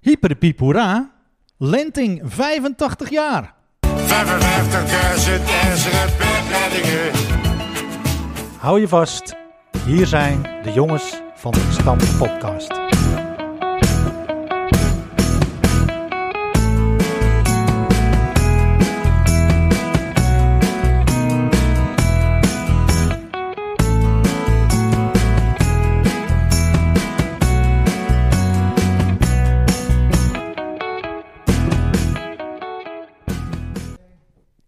Pieper Piep Hoera. Lenting, 85 jaar. 55.000 ijzeren bedleidingen. Hou je vast, hier zijn de jongens van de Stam Podcast.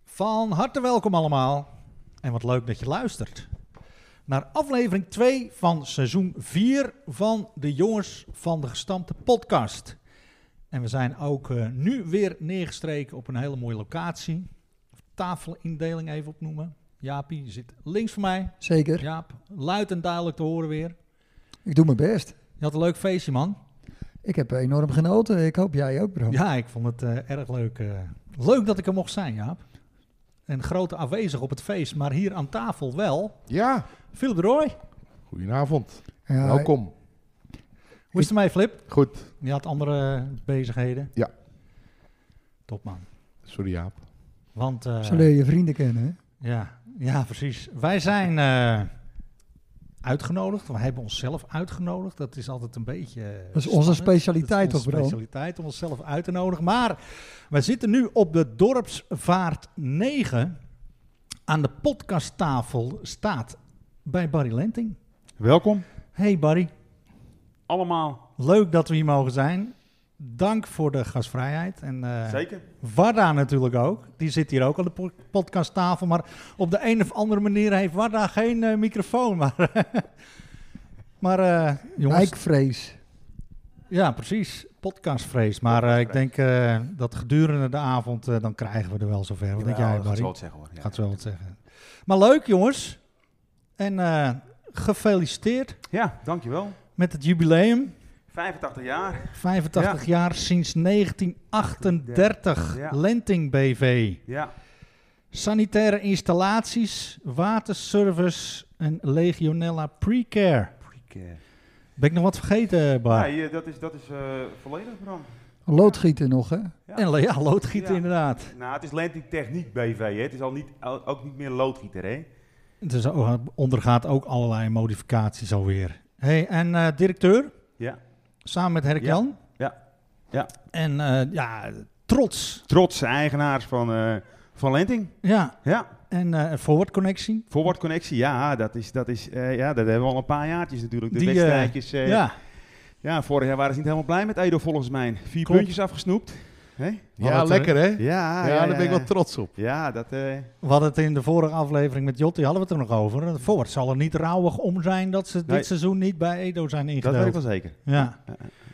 Van harte welkom allemaal. En wat leuk dat je luistert. Naar aflevering 2 van seizoen 4 van de Jongens van de Gestampte podcast. En we zijn ook eh, nu weer neergestreken op een hele mooie locatie. Tafelindeling even opnoemen. Jaapie zit links van mij. Zeker. Jaap, luid en duidelijk te horen weer. Ik doe mijn best. Je had een leuk feestje, man. Ik heb enorm genoten. Ik hoop jij ook, bro. Ja, ik vond het eh, erg leuk. eh. leuk dat ik er mocht zijn, Jaap. Een grote aanwezig op het feest, maar hier aan tafel wel. Ja, Philip de Roy, goedenavond. Ja, Nou, Welkom. hoe is het ermee, Flip? Goed. Je had andere eh, bezigheden. Ja. Top, man. Sorry Jaap. Want, eh, Zo leer je je vrienden kennen, hè? ja, ja, precies. Wij zijn eh, uitgenodigd. We hebben onszelf uitgenodigd. Dat is altijd een beetje... eh, Dat is onze spannend. specialiteit, Dat is toch, onze bro? specialiteit om onszelf uit te nodigen. Maar wij zitten nu op de Dorpsvaart 9. Aan de podcasttafel staat bij Barry Lenting. Welkom. Hey Barry, Allemaal. leuk dat we hier mogen zijn. Dank voor de gastvrijheid. En, eh, Zeker. Warda natuurlijk ook. Die zit hier ook aan de po- podcasttafel. Maar op de een of andere manier heeft Warda geen eh, microfoon. Maar, maar eh, jongens, Wijkvrees. ja, precies. Podcastvrees. Maar eh, ik denk eh, dat gedurende de avond, eh, dan krijgen we er wel zover. Wat denk jij, dat Barry? zal het zeggen hoor. Ja. Gaat ze wel wat zeggen. Maar leuk, jongens. En eh, gefeliciteerd ja, dankjewel. met het jubileum. 85 jaar. 85 jaar sinds 1938. Ja. Lenting BV. Ja, Sanitaire installaties, waterservice en Legionella Precare. precair. Ben ik nog wat vergeten, Bar? Nee, eh, dat is, dat is eh, volledig Bram. Loodgieten nog, hè? En le- ja, loodgieter Ja. inderdaad. Nou, het is Lenting Techniek BV. Hè. Het is al niet, al- ook niet meer loodgieter, hè? Dus ondergaat ook allerlei modificaties alweer. Hey, en eh, directeur, Ja. samen met Herk Jan. Ja. Ja. En eh, ja, trots. Trotse eigenaars van, eh, van Lenting. Ja, Ja. en eh Forward Connectie. Forward Connectie, ja, dat is, dat is, eh, ja, dat hebben we al een paar jaartjes natuurlijk. De Die, eh, wedstrijdjes. eh, ja. ja, vorig jaar waren ze niet helemaal blij met Edo volgens mij. Vier Klopt. puntjes afgesnoept. Hè? Ja, Wat lekker hè? Ja, Ja, daar ben ik wel trots op. Ja, dat... eh, we hadden het in de vorige aflevering met Jotti hadden we het er nog over. Forward zal er niet rauwig om zijn dat ze dit Nee. seizoen niet bij Edo zijn dat weet ik ingedeeld. wel zeker. ja.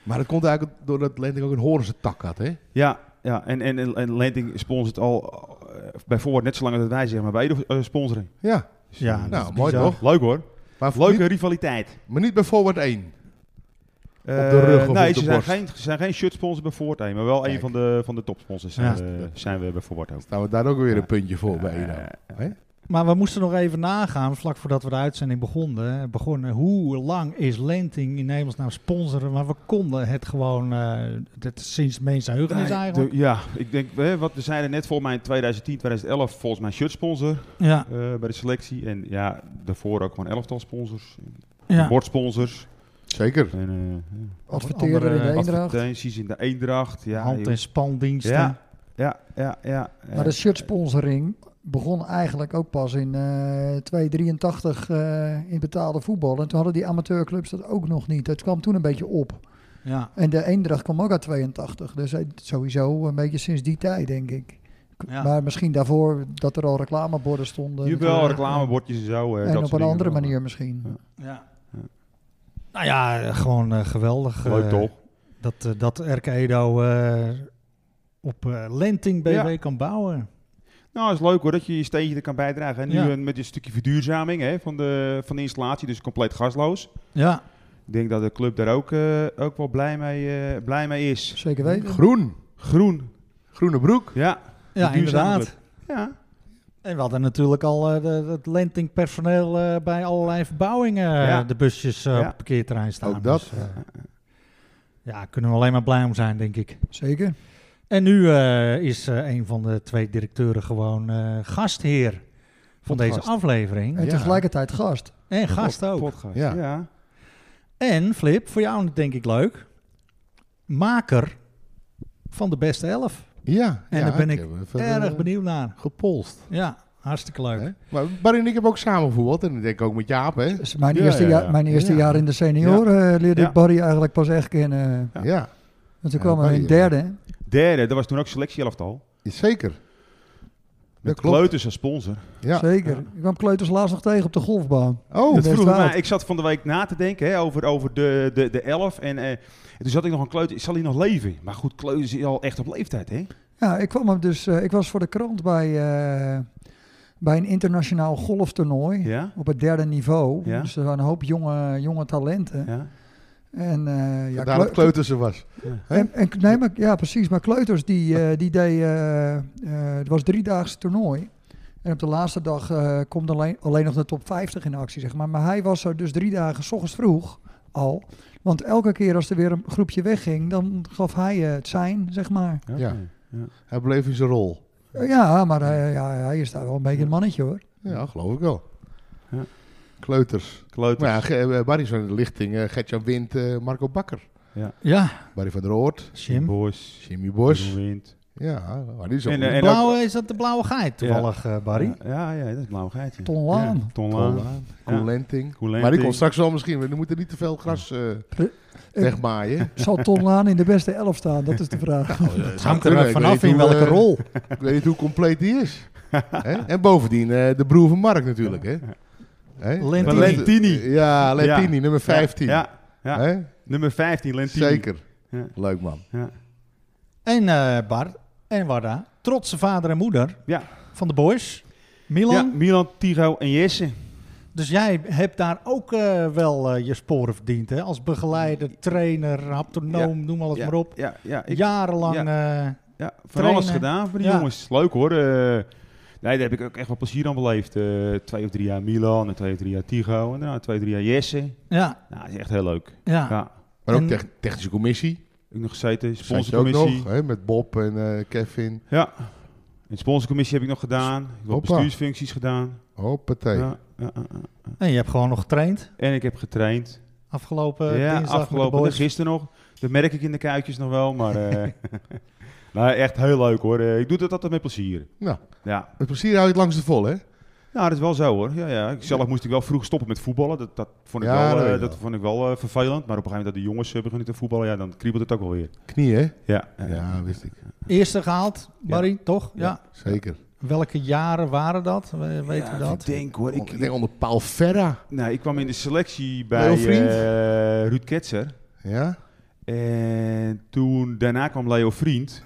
Maar dat komt eigenlijk doordat Lenting ook een horense tak had hè? Ja, ja. En, en, en, en Lenting sponsort al eh, bij voorwoord net zolang dat wij zeg maar bij de eh, sponsoring. Ja. Dus, ja, eh, dat is nou, mooi bizar. toch? Leuk hoor. Maar, Leuke Niet, rivaliteit. maar niet bij Forward 1. Eh, de rug of nee, op ze de zijn borst? geen, ze zijn geen shirt sponsor bij Forward één, maar wel een Kijk. van de, van de topsponsors zijn, Ja. we, zijn we bij Forward ook. Staan we daar ook weer Ja. een puntje voor bij nou. Edo. Eh, Maar we moesten nog even nagaan, vlak voordat we de uitzending begonnen. begonnen hoe lang is Lenting in Nederland nou sponsoren? Maar we konden het gewoon eh, dat is sinds mensenheugenis nee, eigenlijk. de- ja, ik denk, hè, wat we zeiden net volgens mij in 2010, 2011 volgens mij shirt sponsor Ja, bij de selectie. En ja, daarvoor ook gewoon elftal sponsors, ja. bordsponsors. Zeker. En eh, ja, Adverteerder in de andere Eendracht. advertenties in de Eendracht. Ja, hand- en spandiensten. Ja, ja, ja, ja. Maar de shirtsponsoring begon eigenlijk ook pas in eh 283 eh, in betaalde voetbal. En toen hadden die amateurclubs dat ook nog niet. Het kwam toen een beetje op. Ja. En de Eendracht kwam ook uit 82. Dus eh, sowieso een beetje sinds die tijd, denk ik. K- Ja. Maar misschien daarvoor dat er al reclameborden stonden. Jubel, reclamebordjes en zo. eh, En dat soort op een dingen. andere manier misschien. Ja. Nou ja, eh, gewoon eh, geweldig. eh, Leuk toch? Dat, eh, dat RK Edo eh, op eh, Lenting BW Ja. kan bouwen. Nou, is leuk hoor dat je je steentje er kan bijdragen. En nu Ja. eh, met een stukje verduurzaming hè, van, de, van de installatie, dus compleet gasloos. Ja, Ik denk dat de club daar ook, eh, ook wel blij mee, eh, blij mee is. Zeker weten. Groen. Groen. Groene broek. Ja, ja duurzame inderdaad. ja. En we hadden natuurlijk al eh, de- het lentingpersoneel eh, bij allerlei verbouwingen eh, Ja. de busjes eh, Ja. op het parkeerterrein staan. Ook dat. Dus, eh, Ja, kunnen we alleen maar blij om zijn, denk ik. Zeker. En nu eh, is eh, een van de twee directeuren gewoon eh, gastheer van deze Podcast. aflevering. En Ja. tegelijkertijd gast. En gast ook. Podcast. Ja. Ja. En Flip, voor jou denk ik leuk, maker van de beste elf. Ja, En ja, daar ben ik heb even, Erg eh, benieuwd naar. Gepolst. Ja, hartstikke leuk. Hè? Maar Barry en ik hebben ook samen voetbald. En ik denk ook met Jaap, hè? Dat is Dus mijn Ja, eerste, ja, jaar- ja. Mijn eerste Ja. jaar in de senioren eh, leerde Ja. ik Barry eigenlijk pas echt kennen. Ja, Want toen Ja, kwam hij in Barry, derde. hè? Derde, dat was toen ook selectieelftal. is zeker. Met Dat klopt. Kleuters als sponsor. Ja. Zeker. Ik kwam Kleuters laatst nog tegen op de golfbaan. Oh, Dat best vroeg ik, wel. mij- ik zat van de week na te denken hè, over, over de, de, de elf. En, eh, en toen zat ik nog aan Kleuters. Zal hij nog leven? Maar goed, Kleuters is al echt op leeftijd, hè? Ja, ik kwam hem dus. eh, ik was voor de krant bij, eh, bij een internationaal golftoernooi. Ja? Op het derde niveau. Ja. Dus er waren een hoop jonge, jonge talenten. Ja? En, eh ja, daar dat Kleu- Kleuter ze was. hè? en, en- nee, maar, ja, precies. Maar Kleuters, die, eh, die deed... eh, eh, het was een driedaagse toernooi. En op de laatste dag eh, komt alleen, alleen nog de top 50 in actie, zeg maar. Maar hij was er dus drie dagen s ochtends vroeg al. Want elke keer als er weer een groepje wegging, dan gaf hij eh, het zijn, zeg maar. Ja. Ja. oké. Hij bleef in zijn rol. Eh, ja, maar eh, ja, hij is daar wel een beetje een mannetje, hoor. Ja, geloof ik wel. Ja. Kleuters. Kleuters. Maar ja, Ge- eh, Barry is van de lichting. eh, Gertjan Wind, eh, Marco Bakker. Ja, Barry van der Oort. Jim. Boys. Jimmy Bos. Wind. Ja, maar die is En, ook eh, goed. De en- blauwe, is dat de blauwe geit toevallig, eh, Barry? Ja, ja, ja, dat is blauw geitje. Ton Laan. Ja, Ton Tol Laan. Laan, eh, Ja. Koen Lenting. Koen Maar die Lenting. komt straks wel misschien. We moeten niet te veel gras eh, Eh, wegmaaien. Zal Ton Laan in de beste elf staan? Dat is de vraag. Het hangt er vanaf in eh, welke rol. Ik weet niet hoe compleet die is. Hè? En bovendien eh, de broer van Mark natuurlijk. Hè? Hè? Lentini. Lentini. Ja, Lentini, nummer 15. Ja, ja. Hè? nummer 15, Lentini. Zeker. Ja. Leuk man. Ja. En eh, Bart en Warda, trotse vader en moeder Ja. van de boys. Ja, Milan, Milan, Tigo en Jesse. dus jij hebt daar ook eh, wel eh, je sporen verdiend, hè? Als begeleider, trainer, haptonoom, noem alles Ja, maar op. Ja, ja, ik, Jarenlang, eh, Ja, van Trainen. alles gedaan voor die Ja. jongens. Leuk hoor. eh. nee, daar heb ik ook echt wel plezier aan beleefd. Eh, twee of drie jaar Milan, en twee of drie jaar Tigo en daarna twee of drie jaar Jesse. ja, Nou, dat is echt heel leuk. ja. Ja. Maar ook En- tech- technische commissie. Ook nog gezeten, Zat je ook sponsorcommissie. nog, hè? met Bob en eh, Kevin. Ja, in de sponsorcommissie heb ik nog gedaan. Ik heb wat Hoppa. bestuursfuncties gedaan. Hoppatee. Ja, ja, ja, ja. En je hebt gewoon nog getraind En ik heb getraind. afgelopen ja, eh, dinsdag afgelopen met de boys. gisteren nog. Dat merk ik in de kuitjes nog wel, maar... eh, nou, echt heel leuk hoor. Eh, ik doe dat altijd met plezier. Nou, Ja. met plezier hou je het langs de vol, hè? Nou, dat is wel zo hoor. Ja, ja. Ik- Zelf moest ik wel vroeg stoppen met voetballen. Dat, dat vond ik Ja, wel, dat eh, weet ik dat wel. vond ik wel eh, vervelend. Maar op een gegeven moment dat de jongens eh, beginnen te voetballen, ja, dan kriebelt het ook wel weer. Knie, hè? Ja, Ja, wist ik. Eerste gehaald, Barry, toch? Ja. Zeker. Welke jaren waren dat? We- Weten we dat? Ik denk hoor. Ik Ik, denk onder Paul Ferra. nou, ik kwam in de selectie Leo bij Vriend? eh, Ruud Ketser. Ja? En toen, daarna kwam Leo Vriend.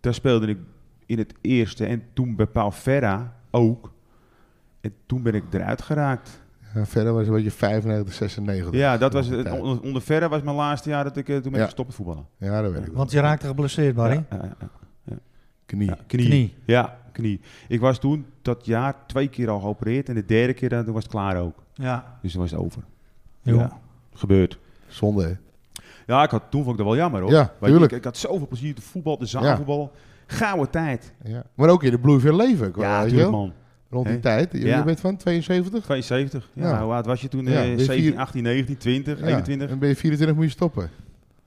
Daar speelde ik in het eerste. En toen bij Paul Ferra ook. En toen ben ik eruit geraakt. ja Ferra was een beetje 95, 96. Ja, dat was, Nog een het- tijd. onder, onder Ferra was mijn laatste jaar dat ik eh, toen ben Ja. ik gestopt met voetballen. Ja, dat weet ik wel. Want je raakte geblesseerd, Barry. Ja, ja, ja. Knie. Ja, knie. Knie. Ja, knie. Ik was toen dat jaar twee keer al geopereerd en de derde keer dan, toen was het klaar ook. Ja. Dus toen was het over. Joh. Ja. Gebeurd. Zonde, hè? Ja, ik had, toen vond ik dat wel jammer hoor. Ja, Weet je, tuurlijk. Ik, ik had zoveel plezier te voetbal, de zaalvoetbal. Gouden tijd. Ja. Maar ook in de bloei van je leven. ik Ja, weet je tuurlijk wel. man. Rond die Hè? tijd. Je, je Ja. bent van 72? 72. Ja, Ja. Hoe oud was je toen? Ja, Eh, weer 17, vier- 18, 19, 20, Ja. 21? En ben je 24 moet je stoppen.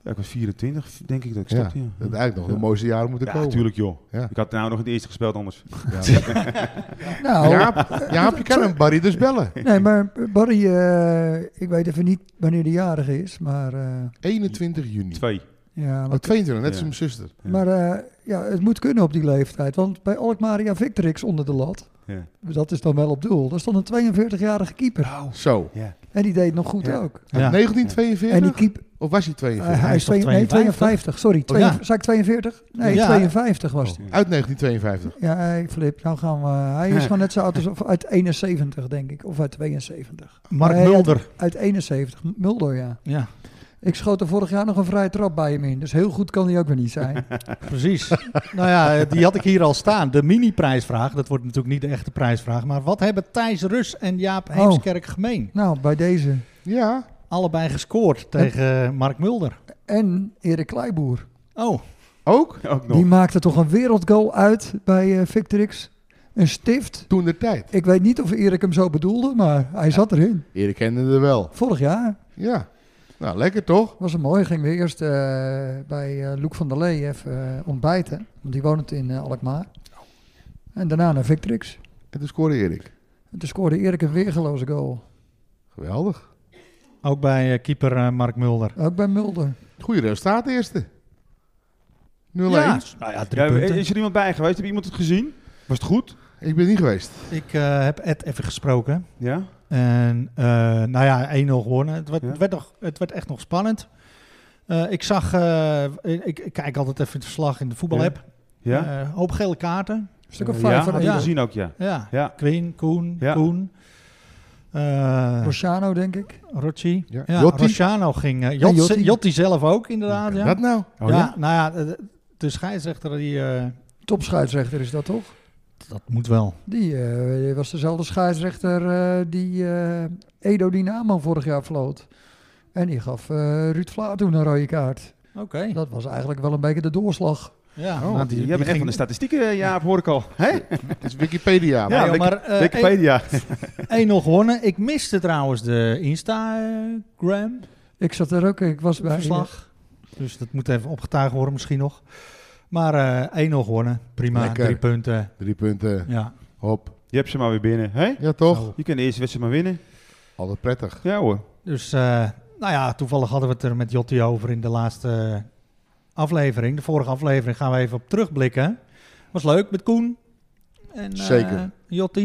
Ja, ik was 24 denk ik dat ik stopte. Ja, Dat is eigenlijk nog de Ja. mooiste jaren moeten Ja, komen. tuurlijk joh. Ja. Ik had nou nog in het eerste gespeeld anders. Nou, Jaap, Jaap, je kan hem Barry dus bellen. nee, maar Barry, eh, ik weet even niet wanneer de jarig is, maar... eh, 21 juni. Twee. ja, Oh, maar, 22, net als Ja. mijn zuster. Ja. maar eh, ja, het moet kunnen op die leeftijd. Want bij Alkmaria Victrix onder de lat, Ja. dat is dan wel op doel. Daar stond een 42-jarige keeper. Zo. Ja. En die deed het nog goed Ja. ook. Uit Ja. En 1942? die keep, Of was hij eh, 42? hij Hij is is toch twee- nee, 52? 52, sorry. Oh, ja. twee- Zei ik 42? Nee, Ja. 52 was Oh. Eh. het. Uit 1952. Ja, hey, Flip, nou gaan we. Hij is gewoon net zo oud als of uit 71, denk ik. Of uit 72. Mark Nee, uit- Mulder. Uit 71, Mulder, ja. Ja, Ik schoot er vorig jaar nog een vrije trap bij hem in. Dus heel goed kan hij ook weer niet zijn. precies. nou ja, die had ik hier al staan. De mini-prijsvraag. Dat wordt natuurlijk niet de echte prijsvraag. Maar wat hebben Thijs Rus en Jaap Heemskerk gemeen? nou, bij deze. Ja. Allebei gescoord tegen eh, Mark Mulder. en Erik Kleiboer. Oh, Ook Ook Die nog. maakte toch een wereldgoal uit bij eh, Victrix. Een stift. toen de tijd. Ik weet niet of Erik hem zo bedoelde, maar hij zat erin. Erik kende er wel. Vorig jaar Ja. Nou, lekker toch? was het mooi. Gingen we eerst eh, bij eh, Loek van der Lee even eh, ontbijten. Want die woont in eh, Alkmaar. En daarna naar Victrix. En toen scoorde Erik. En toen scoorde Erik een weergeloze goal. Geweldig. ook bij eh, keeper eh, Mark Mulder. Ook bij Mulder. Goeie resultaat eerste. 0-1. Ja, nou ja, drie Ja, punten. is er iemand bij geweest? Heb iemand het gezien? Was het goed? Ik ben niet geweest. Ik eh, heb Ed even gesproken. Ja. En eh, nou ja, 1-0 gewonnen. Het werd, Ja. het werd, nog, het werd echt nog spannend. Eh, ik zag, eh, ik, ik kijk altijd even het verslag in de voetbalapp. Ja. Eh, hoop gele kaarten. Een stuk of Eh, vijf ja, van had ik één. ja. gezien ook, ja. Ja. Ja. Queen, Koen, Ja. Koen. Eh Rosciano, denk ik. Rocci. Ja. Ja. Jotti. Rosciano ging. eh, Ja, Jot, Jotti. Jotti zelf ook, inderdaad. Ja, Dat nou? Oh, ja, ja? nou ja, de, de scheidsrechter die. eh, Topscheidsrechter is dat toch? dat moet wel. Die eh, was dezelfde scheidsrechter eh, die eh, Edo Dynamo vorig jaar floot. En die gaf eh, Ruud Vlaar toen een rode kaart. Oké. Dat was eigenlijk wel een beetje de doorslag. Ja, Oh, nou, Jij bent echt ging- van de statistieken, eh, Jaap, hoor ik al. Hé? Het is Ja, Wikipedia. Ja, joh, Wiki- maar eh, Wikipedia. 1-0 gewonnen. Ik miste trouwens de Instagram Ik zat er ook, ik was bij... verslag. eh, Dus dat moet even opgetuigd worden misschien nog. Maar eh 1-0 gewonnen. Prima. Lekker. Drie punten. Drie punten. Ja. Hop. Je hebt ze maar weer binnen. Hé? Ja, toch? Zo. Je kan de eerste wedstrijd maar winnen. Altijd prettig. Ja hoor. Dus eh, nou ja, toevallig hadden we het er met Jotti over in de laatste aflevering. De vorige aflevering gaan we even op terugblikken. Was leuk met Koen. En, eh, Zeker. Jotti.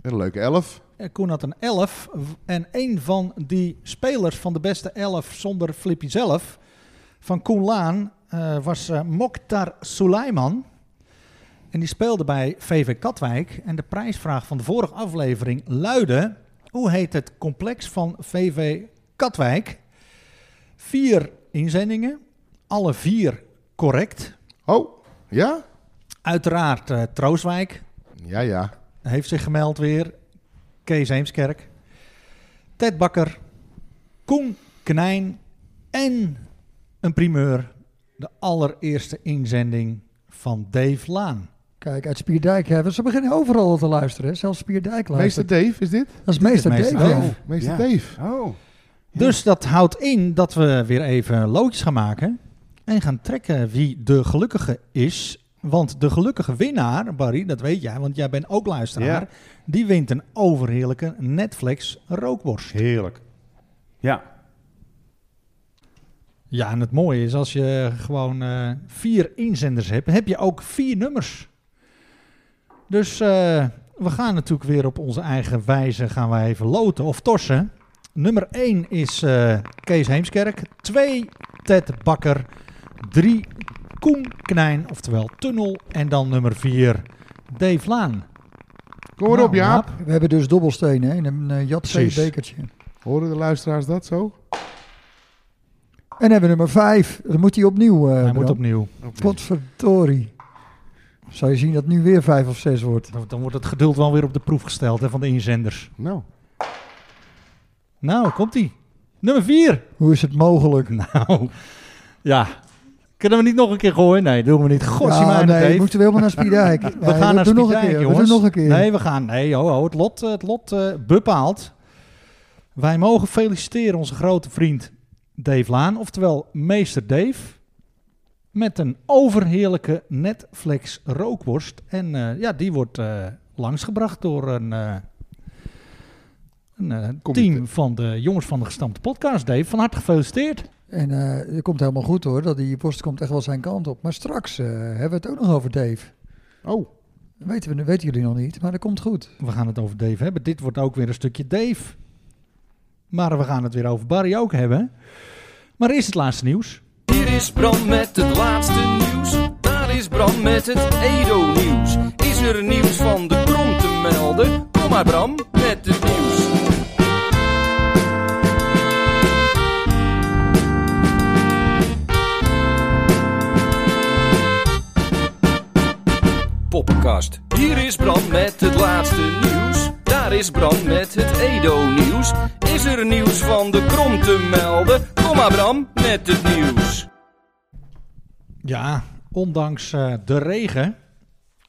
En een leuke elf. Eh, Koen had een 11. En een van die spelers van de beste 11 zonder Flippy zelf, van Koen Laan, eh, was eh, Mokhtar Suleiman. En die speelde bij VV Katwijk. En de prijsvraag van de vorige aflevering luidde: hoe heet het complex van VV Katwijk? Vier inzendingen, alle vier correct. Oh, ja? Uiteraard eh, Trooswijk, Ja, ja. heeft zich gemeld weer. Kees Heemskerk. Ted Bakker. Koen Knijn. En een primeur. De allereerste inzending van Dave Laan. Kijk, uit Spierdijk hebben ze beginnen overal al te luisteren. hè. Zelfs Spierdijk Meester luistert. Dave is dit? dat is meester, Dit is Dave. meester Dave. Oh. Meester Ja. Dave. Oh. Dus dat houdt in dat we weer even loodjes gaan maken. En gaan trekken wie de gelukkige is. Want de gelukkige winnaar, Barry, dat weet jij, want jij bent ook luisteraar. Ja. Die wint een overheerlijke Netflix rookworst. Heerlijk. Ja. Ja, en het mooie is als je gewoon eh, vier inzenders hebt, heb je ook vier nummers. Dus eh, we gaan natuurlijk weer op onze eigen wijze gaan wij even loten of torsen. Nummer 1 is eh, Kees Heemskerk. 2 Ted Bakker. 3 Koen Knijn, oftewel Tunnel. En dan nummer 4 Dave Laan. Kom maar Nou, op, Jaap. We hebben dus dobbelstenen hè, in een uh, Jat Precies. bekertje. Horen de luisteraars dat zo? En hebben we nummer vijf. Dan moet hij opnieuw. eh Hij moet Bram. opnieuw. Potverdorie. Zou je zien dat het nu weer vijf of zes wordt. Dan, dan wordt het geduld wel weer op de proef gesteld hè, van de inzenders. Nou, Nou, komt-ie. Nummer 4. Hoe is het mogelijk? Nou, ja. Kunnen we niet nog een keer gooien? Nee, doen we niet. Godzie Ja, maar, nee, Dave. moeten we helemaal naar Spiedijk. Nee, we gaan naar doen nog een Spiedijk, keer. We jongens. doen nog een keer. Nee, we gaan. Nee, ho, ho, het lot, eh, het lot eh, bepaalt. Wij mogen feliciteren onze grote vriend Dave Laan, oftewel meester Dave. Met een overheerlijke Netflix rookworst. En eh, ja, die wordt eh, langsgebracht door een, eh, een eh, Comité. team van de jongens van de gestampte podcast. Dave, van harte gefeliciteerd. En eh het komt helemaal goed hoor. Dat die worst komt echt wel zijn kant op. Maar straks eh, hebben we het ook nog over Dave. oh, Weten, we, weten jullie nog niet, maar dat komt goed. We gaan het over Dave hebben. Dit wordt ook weer een stukje Dave. Maar we gaan het weer over Barry ook hebben. Maar eerst het laatste nieuws. Hier is Bram met het laatste nieuws. Daar is Bram met het Edo-nieuws. Is er nieuws van de bron te melden? Kom maar Bram met het nieuws. Poppenkast. Hier is Bram met het laatste nieuws. Daar is Bram met het Edo-nieuws. Is er nieuws van de krom te melden? Kom Kom maar Bram met het nieuws. Ja, ondanks eh, de regen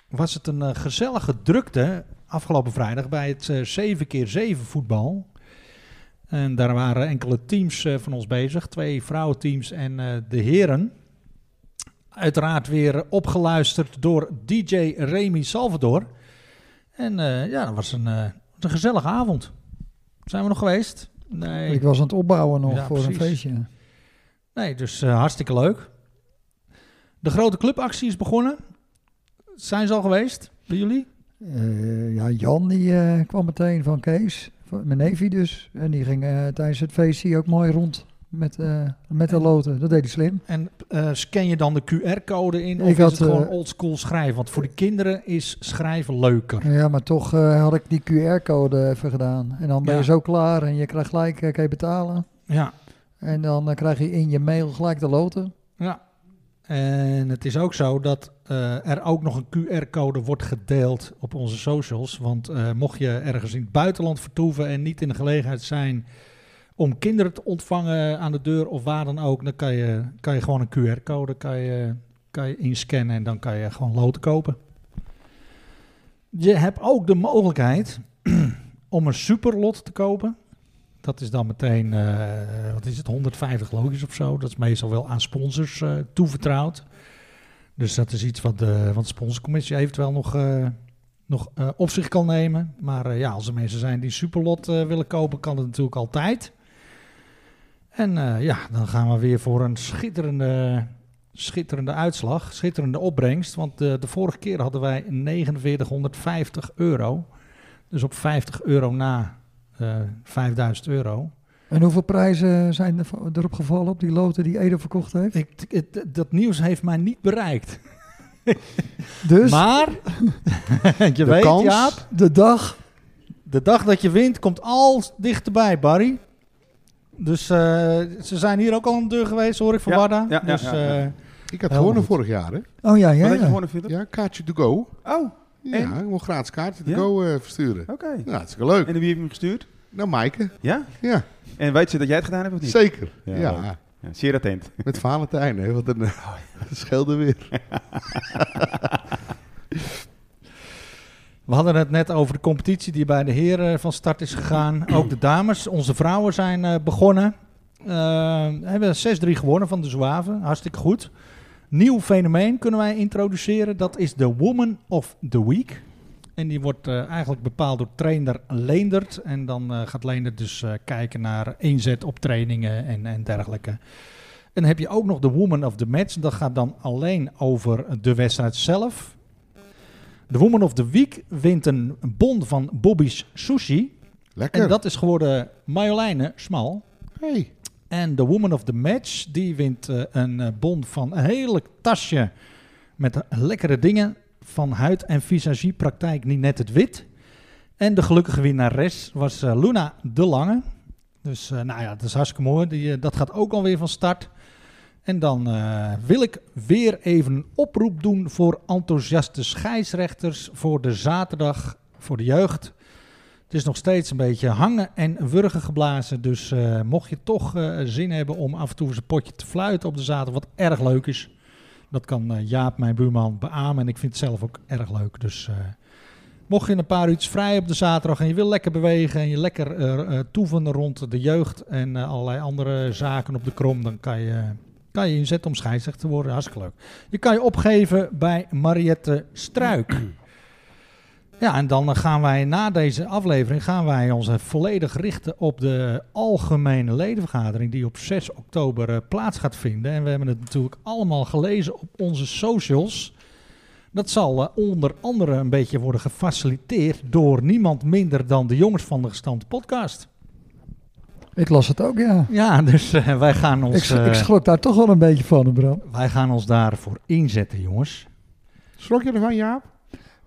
was het een eh, gezellige drukte afgelopen vrijdag bij het eh 7x7 voetbal. En daar waren enkele teams eh, van ons bezig, twee vrouwenteams en eh, de heren. Uiteraard weer opgeluisterd door DJ Remy Salvador. En eh, ja, dat was een, eh, een gezellige avond. Zijn we nog geweest? Nee. Ik was aan het opbouwen nog Ja, voor een precies. feestje. Nee, dus eh, hartstikke leuk. De grote clubactie is begonnen. Zijn ze al geweest bij jullie? Eh, ja, Jan die eh, kwam meteen van Kees, van mijn neefje dus. En die ging eh, tijdens het feest hier ook mooi rond met, eh, met de loten. Dat deed hij slim. En eh, scan je dan de QR-code in? Of Ik is had, het gewoon eh, oldschool schrijven? Want voor de kinderen is schrijven leuker. Ja, maar toch eh, had ik die QR-code even gedaan. En dan ben Ja. je zo klaar en je krijgt gelijk, eh, kan je betalen. Ja. En dan eh, krijg je in je mail gelijk de loten. ja. En het is ook zo dat eh, er ook nog een QR-code wordt gedeeld op onze socials. Want eh, mocht je ergens in het buitenland vertoeven en niet in de gelegenheid zijn om kinderen te ontvangen aan de deur of waar dan ook, dan kan je, kan je gewoon een QR-code kan je, kan je inscannen en dan kan je gewoon loten kopen. Je hebt ook de mogelijkheid om een superlot te kopen. Dat is dan meteen, eh, wat is het, 150 loodjes of zo. Dat is meestal wel aan sponsors eh, toevertrouwd. Dus dat is iets wat de, wat de sponsorcommissie eventueel nog, eh, nog eh, op zich kan nemen. Maar eh, ja, als er mensen zijn die een superlot eh, willen kopen, kan dat natuurlijk altijd. En eh, ja, dan gaan we weer voor een schitterende, schitterende uitslag, schitterende opbrengst. Want eh, de vorige keer hadden wij 4950 euro. Dus op 50 euro na eh 5000 euro. En hoeveel prijzen zijn er- erop gevallen op die loten die Edo verkocht heeft? Ik, het- dat nieuws heeft mij niet bereikt. Dus maar, je weet kans- Jaap, de dag, de dag dat je wint komt al dichterbij, Barry. Dus eh, ze zijn hier ook al aan de deur geweest, hoor ik van Ja, Barda. ja, ja, dus, ja, eh, ja. Ik had Heel gewonnen goed. vorig jaar, hè? oh ja, ja, Wat had je ja. gewonnen, Philip? Ja, kaartje to go. Oh, oké. Ja, En? ik wil gratis kaartje to Ja? go eh, versturen. Nou, hartstikke leuk. En wie heeft hem gestuurd? Nou, Maaike. Ja? Ja, En weet ze dat jij het gedaan hebt of niet? zeker. Ja, Ja, leuk. Ja, zeer attent. met Valentijn, hè? Wat een scheelde weer. We hadden het net over de competitie die bij de heren van start is gegaan. Ook de dames, onze vrouwen zijn eh, begonnen. Eh, hebben 6-3 gewonnen van de Zouaven. Hartstikke goed. Nieuw fenomeen kunnen wij introduceren. Dat is de Woman of the Week. En die wordt eh, eigenlijk bepaald door trainer Leendert. En dan eh, gaat Leendert dus eh, kijken naar inzet op trainingen en, en dergelijke. En dan heb je ook nog de Woman of the Match. Dat gaat dan alleen over de wedstrijd zelf. De Woman of the Week wint een bon van Bobby's Sushi. En Lekker. dat is geworden Marjoleine Smal. Hey. En de Woman of the Match, die wint eh, een eh, bon van een heerlijk tasje met lekkere dingen van huid- en visagiepraktijk Ninette het Wit. En de gelukkige winnares was eh, Luna de Lange. Dus eh, nou ja, dat is hartstikke mooi. Die, eh, dat gaat ook alweer van start. En dan eh, wil ik weer even een oproep doen voor enthousiaste scheidsrechters voor de zaterdag voor de jeugd. Het is nog steeds een beetje hangen en wurgen geblazen. Dus eh, mocht je toch eh, zin hebben om af en toe eens een potje te fluiten op de zaterdag, wat erg leuk is. Dat kan eh, Jaap, mijn buurman, beamen. En ik vind het zelf ook erg leuk. Dus eh, mocht je een paar uurtjes vrij op de zaterdag en je wil lekker bewegen en je lekker eh, eh, toeven rond de jeugd en eh, allerlei andere zaken op de krom, dan kan je, kan je inzetten om scheidsrechter te worden. Hartstikke leuk. Je kan je opgeven bij Mariette Struik. Ja, en dan eh, gaan wij na deze aflevering gaan wij ons eh, volledig richten op de algemene ledenvergadering die op 6 oktober eh, plaats gaat vinden. En we hebben het natuurlijk allemaal gelezen op onze socials. Dat zal eh, onder andere een beetje worden gefaciliteerd door niemand minder dan de jongens van de gestampte podcast. Ik las het ook, ja. Ja, dus eh, wij gaan Ik, ons... ik eh, schrok daar toch wel een beetje van, Bram. wij gaan ons daarvoor inzetten, jongens. Schrok je ervan, Jaap?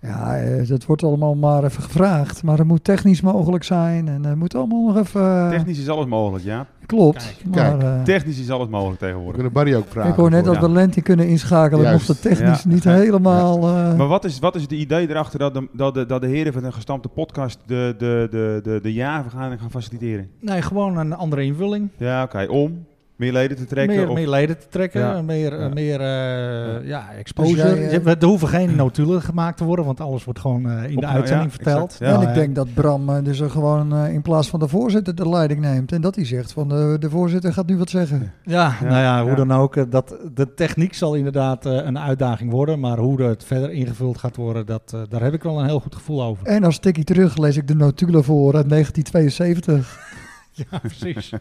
Ja, eh, dat wordt allemaal maar even gevraagd. Maar het moet technisch mogelijk zijn. En het moet allemaal nog even... eh, Technisch is alles mogelijk, ja. Klopt. Kijk, maar, eh, Technisch is alles mogelijk We tegenwoordig. kunnen Barry ook vragen. ik hoor net voor. dat we Lenti kunnen inschakelen. Juist. Mocht het technisch Ja. niet helemaal... eh, Maar wat is, wat is het idee erachter dat de, dat de, dat de heren van de gestampte podcast de, de, de, de, de jaarvergadering gaan faciliteren? Nee, gewoon een andere invulling. Ja, oké. Om? meer leden te trekken? meer, of, meer leden te trekken, Ja. meer, eh, Ja. meer eh, ja, Dus exposure. jij, eh, Je- we- er hoeven geen notulen gemaakt te worden, want alles wordt gewoon eh, in de Opgenomen, uitzending ja, verteld. exact, ja. Nou, en ik eh, denk dat Bram eh, dus er gewoon eh, in plaats van de voorzitter de leiding neemt. En dat hij zegt van eh, de voorzitter gaat nu wat zeggen. Ja, Ja, nou ja, hoe ja. dan ook. eh, Dat, de techniek zal inderdaad eh, een uitdaging worden. Maar hoe het verder ingevuld gaat worden, dat, eh, daar heb ik wel een heel goed gevoel over. En als tikkie terug lees ik de notulen voor uit 1972. Ja, precies.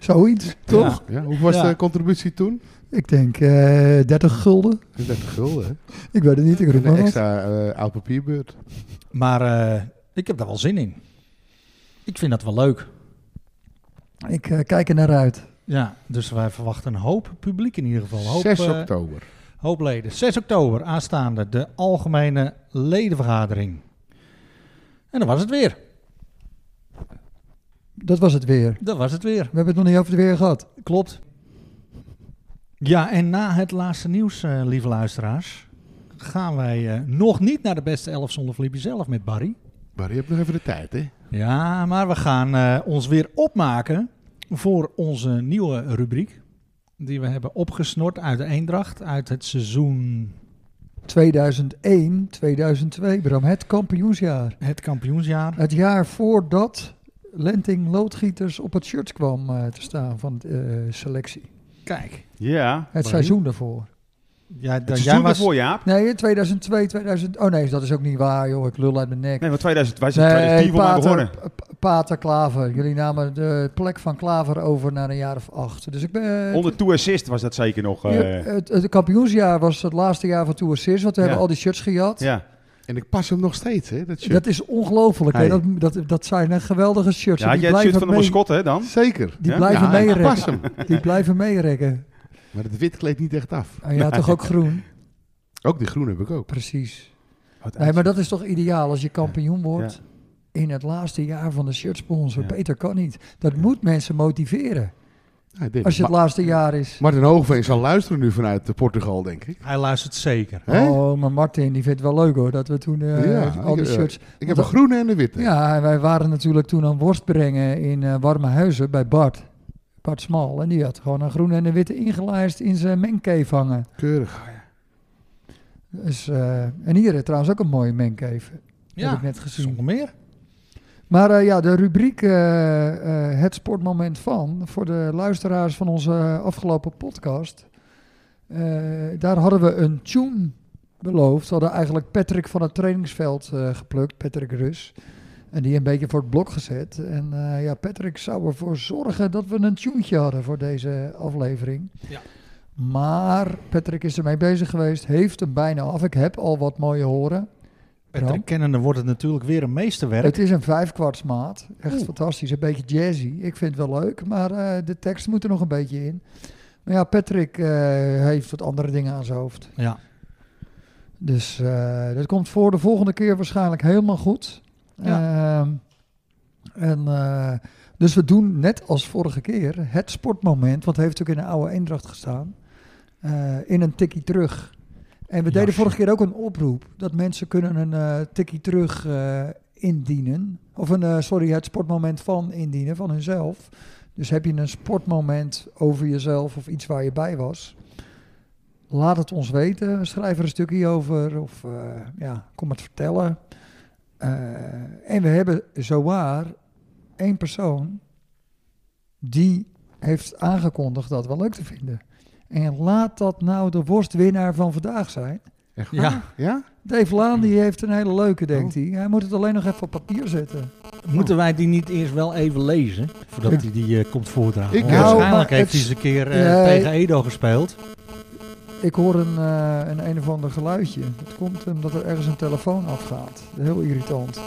Zoiets, toch? Ja, hoe was Ja. de contributie toen? Ik denk eh 30 gulden. 30 gulden, hè? Ik weet het niet, ik roep Een maar wat. extra eh, oud papierbeurt. Maar eh, ik heb daar wel zin in. Ik vind dat wel leuk. Ik eh, kijk er naar uit. Ja, dus wij verwachten een hoop publiek in ieder geval. Een Hoop, 6 eh, oktober. hoop leden. 6 oktober aanstaande de algemene ledenvergadering. En dan was het weer. Dat was het weer. Dat was het weer. We hebben het nog niet over het weer gehad. Klopt. Ja, en na het laatste nieuws, eh, lieve luisteraars, gaan wij eh, nog niet naar de beste elf zonder Flippy zelf met Barry. Maar je hebt nog even de tijd, hè? Ja, maar we gaan eh, ons weer opmaken voor onze nieuwe rubriek. Die we hebben opgesnort uit de Eendracht, uit het seizoen 2001, 2002, Bram, het kampioensjaar. het kampioensjaar. Het jaar voordat Lenting Loodgieters op het shirt kwam eh, te staan van de selectie. Kijk, Ja. Het seizoen daarvoor. ja, Het dat jij seizoen was... daarvoor, Jaap. Nee, in 2002, 2000... Oh nee, dat is ook niet waar, joh. Ik lul uit mijn nek. Nee, want 2000, wij zijn 2010 voor mij begonnen. Pater, P- Pater Klaver. Jullie namen de plek van Klaver over naar een jaar of acht. Dus ik ben... Onder Two Assist was dat zeker nog. Ja, eh, het, het kampioensjaar was het laatste jaar van Tour 6, want we Ja. hebben al die shirts gejat. ja. En ik pas hem nog steeds, hè? Dat shirt. Dat is ongelooflijk. hè. Hey. Dat, dat, dat zijn eh, geweldige shirts. ja, had die jij het shirt blijven van de mee- mascotte hè, dan? Zeker. Die Ja? blijven ja, ik pas meerekken. hem. Die blijven meerekken. Maar het wit kleedt niet echt af. Ah, ja, toch ook groen? Ook die groene heb ik ook. Precies. Wat Nee, maar dat is toch ideaal als je kampioen wordt Ja. in het laatste jaar van de shirtsponsor. Ja. Beter kan niet. Dat moet mensen motiveren Ja, Ah, dit. als je het Ma- laatste jaar is. Martin Hoogveen zal luisteren nu vanuit eh, Portugal, denk ik. Hij luistert zeker. Hè? Oh, maar Martin, die vindt het wel leuk hoor, dat we toen eh, Ja, al die ik- shirts... Ik heb een groene en een witte. Ja, en wij waren natuurlijk toen aan worst brengen in eh, warme huizen bij Bart. Bart Smal. En die had gewoon een groene en een witte ingelijst in zijn mengcave hangen. Keurig. Dus, eh, en hier eh, trouwens ook een mooie mengcave. Ja, Heb ik net gezien. zonder meer. Maar eh, ja, de rubriek eh, eh, Het Sportmoment van, voor de luisteraars van onze eh, afgelopen podcast. eh, daar hadden we een tune beloofd. We hadden eigenlijk Patrick van het trainingsveld eh, geplukt, Patrick Rus. En die een beetje voor het blok gezet. En eh, ja, Patrick zou ervoor zorgen dat we een tuentje hadden voor deze aflevering. Ja. Maar Patrick is ermee bezig geweest, heeft hem bijna af. Ik heb al wat mooie horen. Bram? Patrick kennende wordt het natuurlijk weer een meesterwerk. Het is een vijfkwartsmaat. Echt fantastisch. Een beetje jazzy. Ik vind het wel leuk, maar eh, de tekst moet er nog een beetje in. Maar ja, Patrick eh, heeft wat andere dingen aan zijn hoofd. Ja. Dus eh, dat komt voor de volgende keer waarschijnlijk helemaal goed. Ehm, en, eh, dus we doen net als vorige keer het sportmoment, want het heeft natuurlijk in de oude Eendracht gestaan, eh, in een tikkie terug. En we deden Jasje. vorige keer ook een oproep dat mensen kunnen een eh, tikkie terug eh, indienen. Of een, eh, sorry, het sportmoment van indienen, van hunzelf. Dus heb je een sportmoment over jezelf of iets waar je bij was, Laat het ons weten. Schrijf er een stukje over. Of eh, ja, kom het vertellen. Eh, en we hebben zowaar één persoon die heeft aangekondigd dat wel leuk te vinden. En laat dat nou de worstwinnaar van vandaag zijn. Echt waar? Ja, Ja? Dave Laan die heeft een hele leuke, denkt hij. Hij moet het alleen nog even op papier zetten. Ah. moeten wij die niet eerst wel even lezen, voordat hij die eh, komt voordragen? Ik- Want Nou, waarschijnlijk maar heeft hij eens het- een keer eh, Nee. tegen Edo gespeeld. Ik hoor een, eh, een een of ander geluidje. Het komt omdat er ergens een telefoon afgaat. Heel irritant.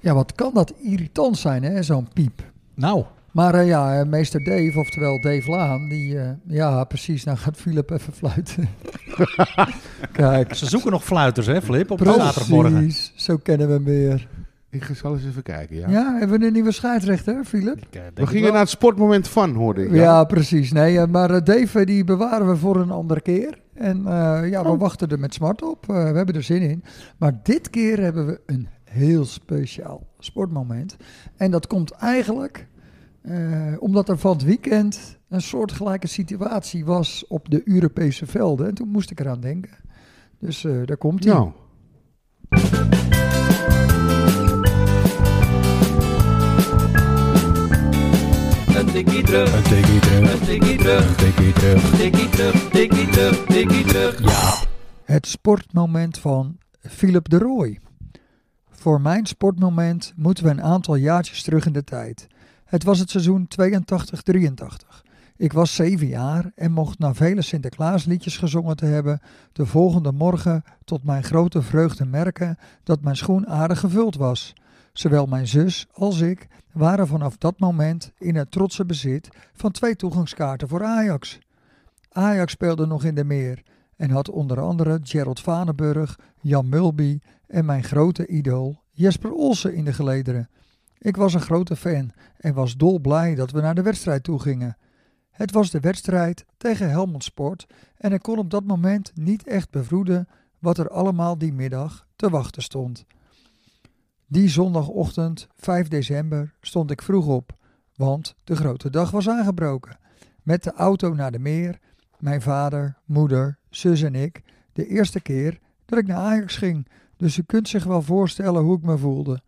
Ja, wat kan dat irritant zijn, hè, zo'n piep. Nou, Maar eh, ja, eh, meester Dave, oftewel Dave Laan, die... eh, ja, precies, nou gaat Philip even fluiten. Kijk, ze zoeken nog fluiters, hè, Flip, op zaterdagmorgen. precies, zo kennen we hem weer. Ik ga- zal eens even kijken, ja. Ja, hebben we een nieuwe scheidsrechter, Philip? Ik, eh, denk We het gingen wel. naar het sportmoment van, hoorde ik. Ja, precies. Nee, eh, maar eh, Dave, eh, die bewaren we voor een andere keer. En eh, ja, we wachten er met smart op. Eh, we hebben er zin in. Maar dit keer hebben we een heel speciaal sportmoment. En dat komt eigenlijk eh, Eh, omdat er van het weekend een soortgelijke situatie was op de Europese velden. En toen moest ik eraan denken. Dus eh, daar komt hij. Nou, Een tikkie terug, Een tikkie terug, een tikkie terug, een tikkie terug. tikkie terug, tikkie terug, tikkie terug. Het sportmoment van Philip de Rooij. Voor mijn sportmoment moeten we een aantal jaartjes terug in de tijd. Het was het seizoen 82-83. Ik was zeven jaar en mocht na vele Sinterklaasliedjes gezongen te hebben, de volgende morgen tot mijn grote vreugde merken dat mijn schoen aardig gevuld was. Zowel mijn zus als ik waren vanaf dat moment in het trotse bezit van twee toegangskaarten voor Ajax. Ajax speelde nog in de meer en had onder andere Gerald Vanenburg, Jan Mulby en mijn grote idool Jesper Olsen in de gelederen. Ik was een grote fan en was dolblij dat we naar de wedstrijd toe gingen. Het was de wedstrijd tegen Helmond Sport en ik kon op dat moment niet echt bevroeden wat er allemaal die middag te wachten stond. Die zondagochtend, 5 december, stond ik vroeg op, want de grote dag was aangebroken. Met de auto naar de meer mijn vader, moeder, zus en ik de eerste keer dat ik naar Ajax ging. Dus u kunt zich wel voorstellen hoe ik me voelde.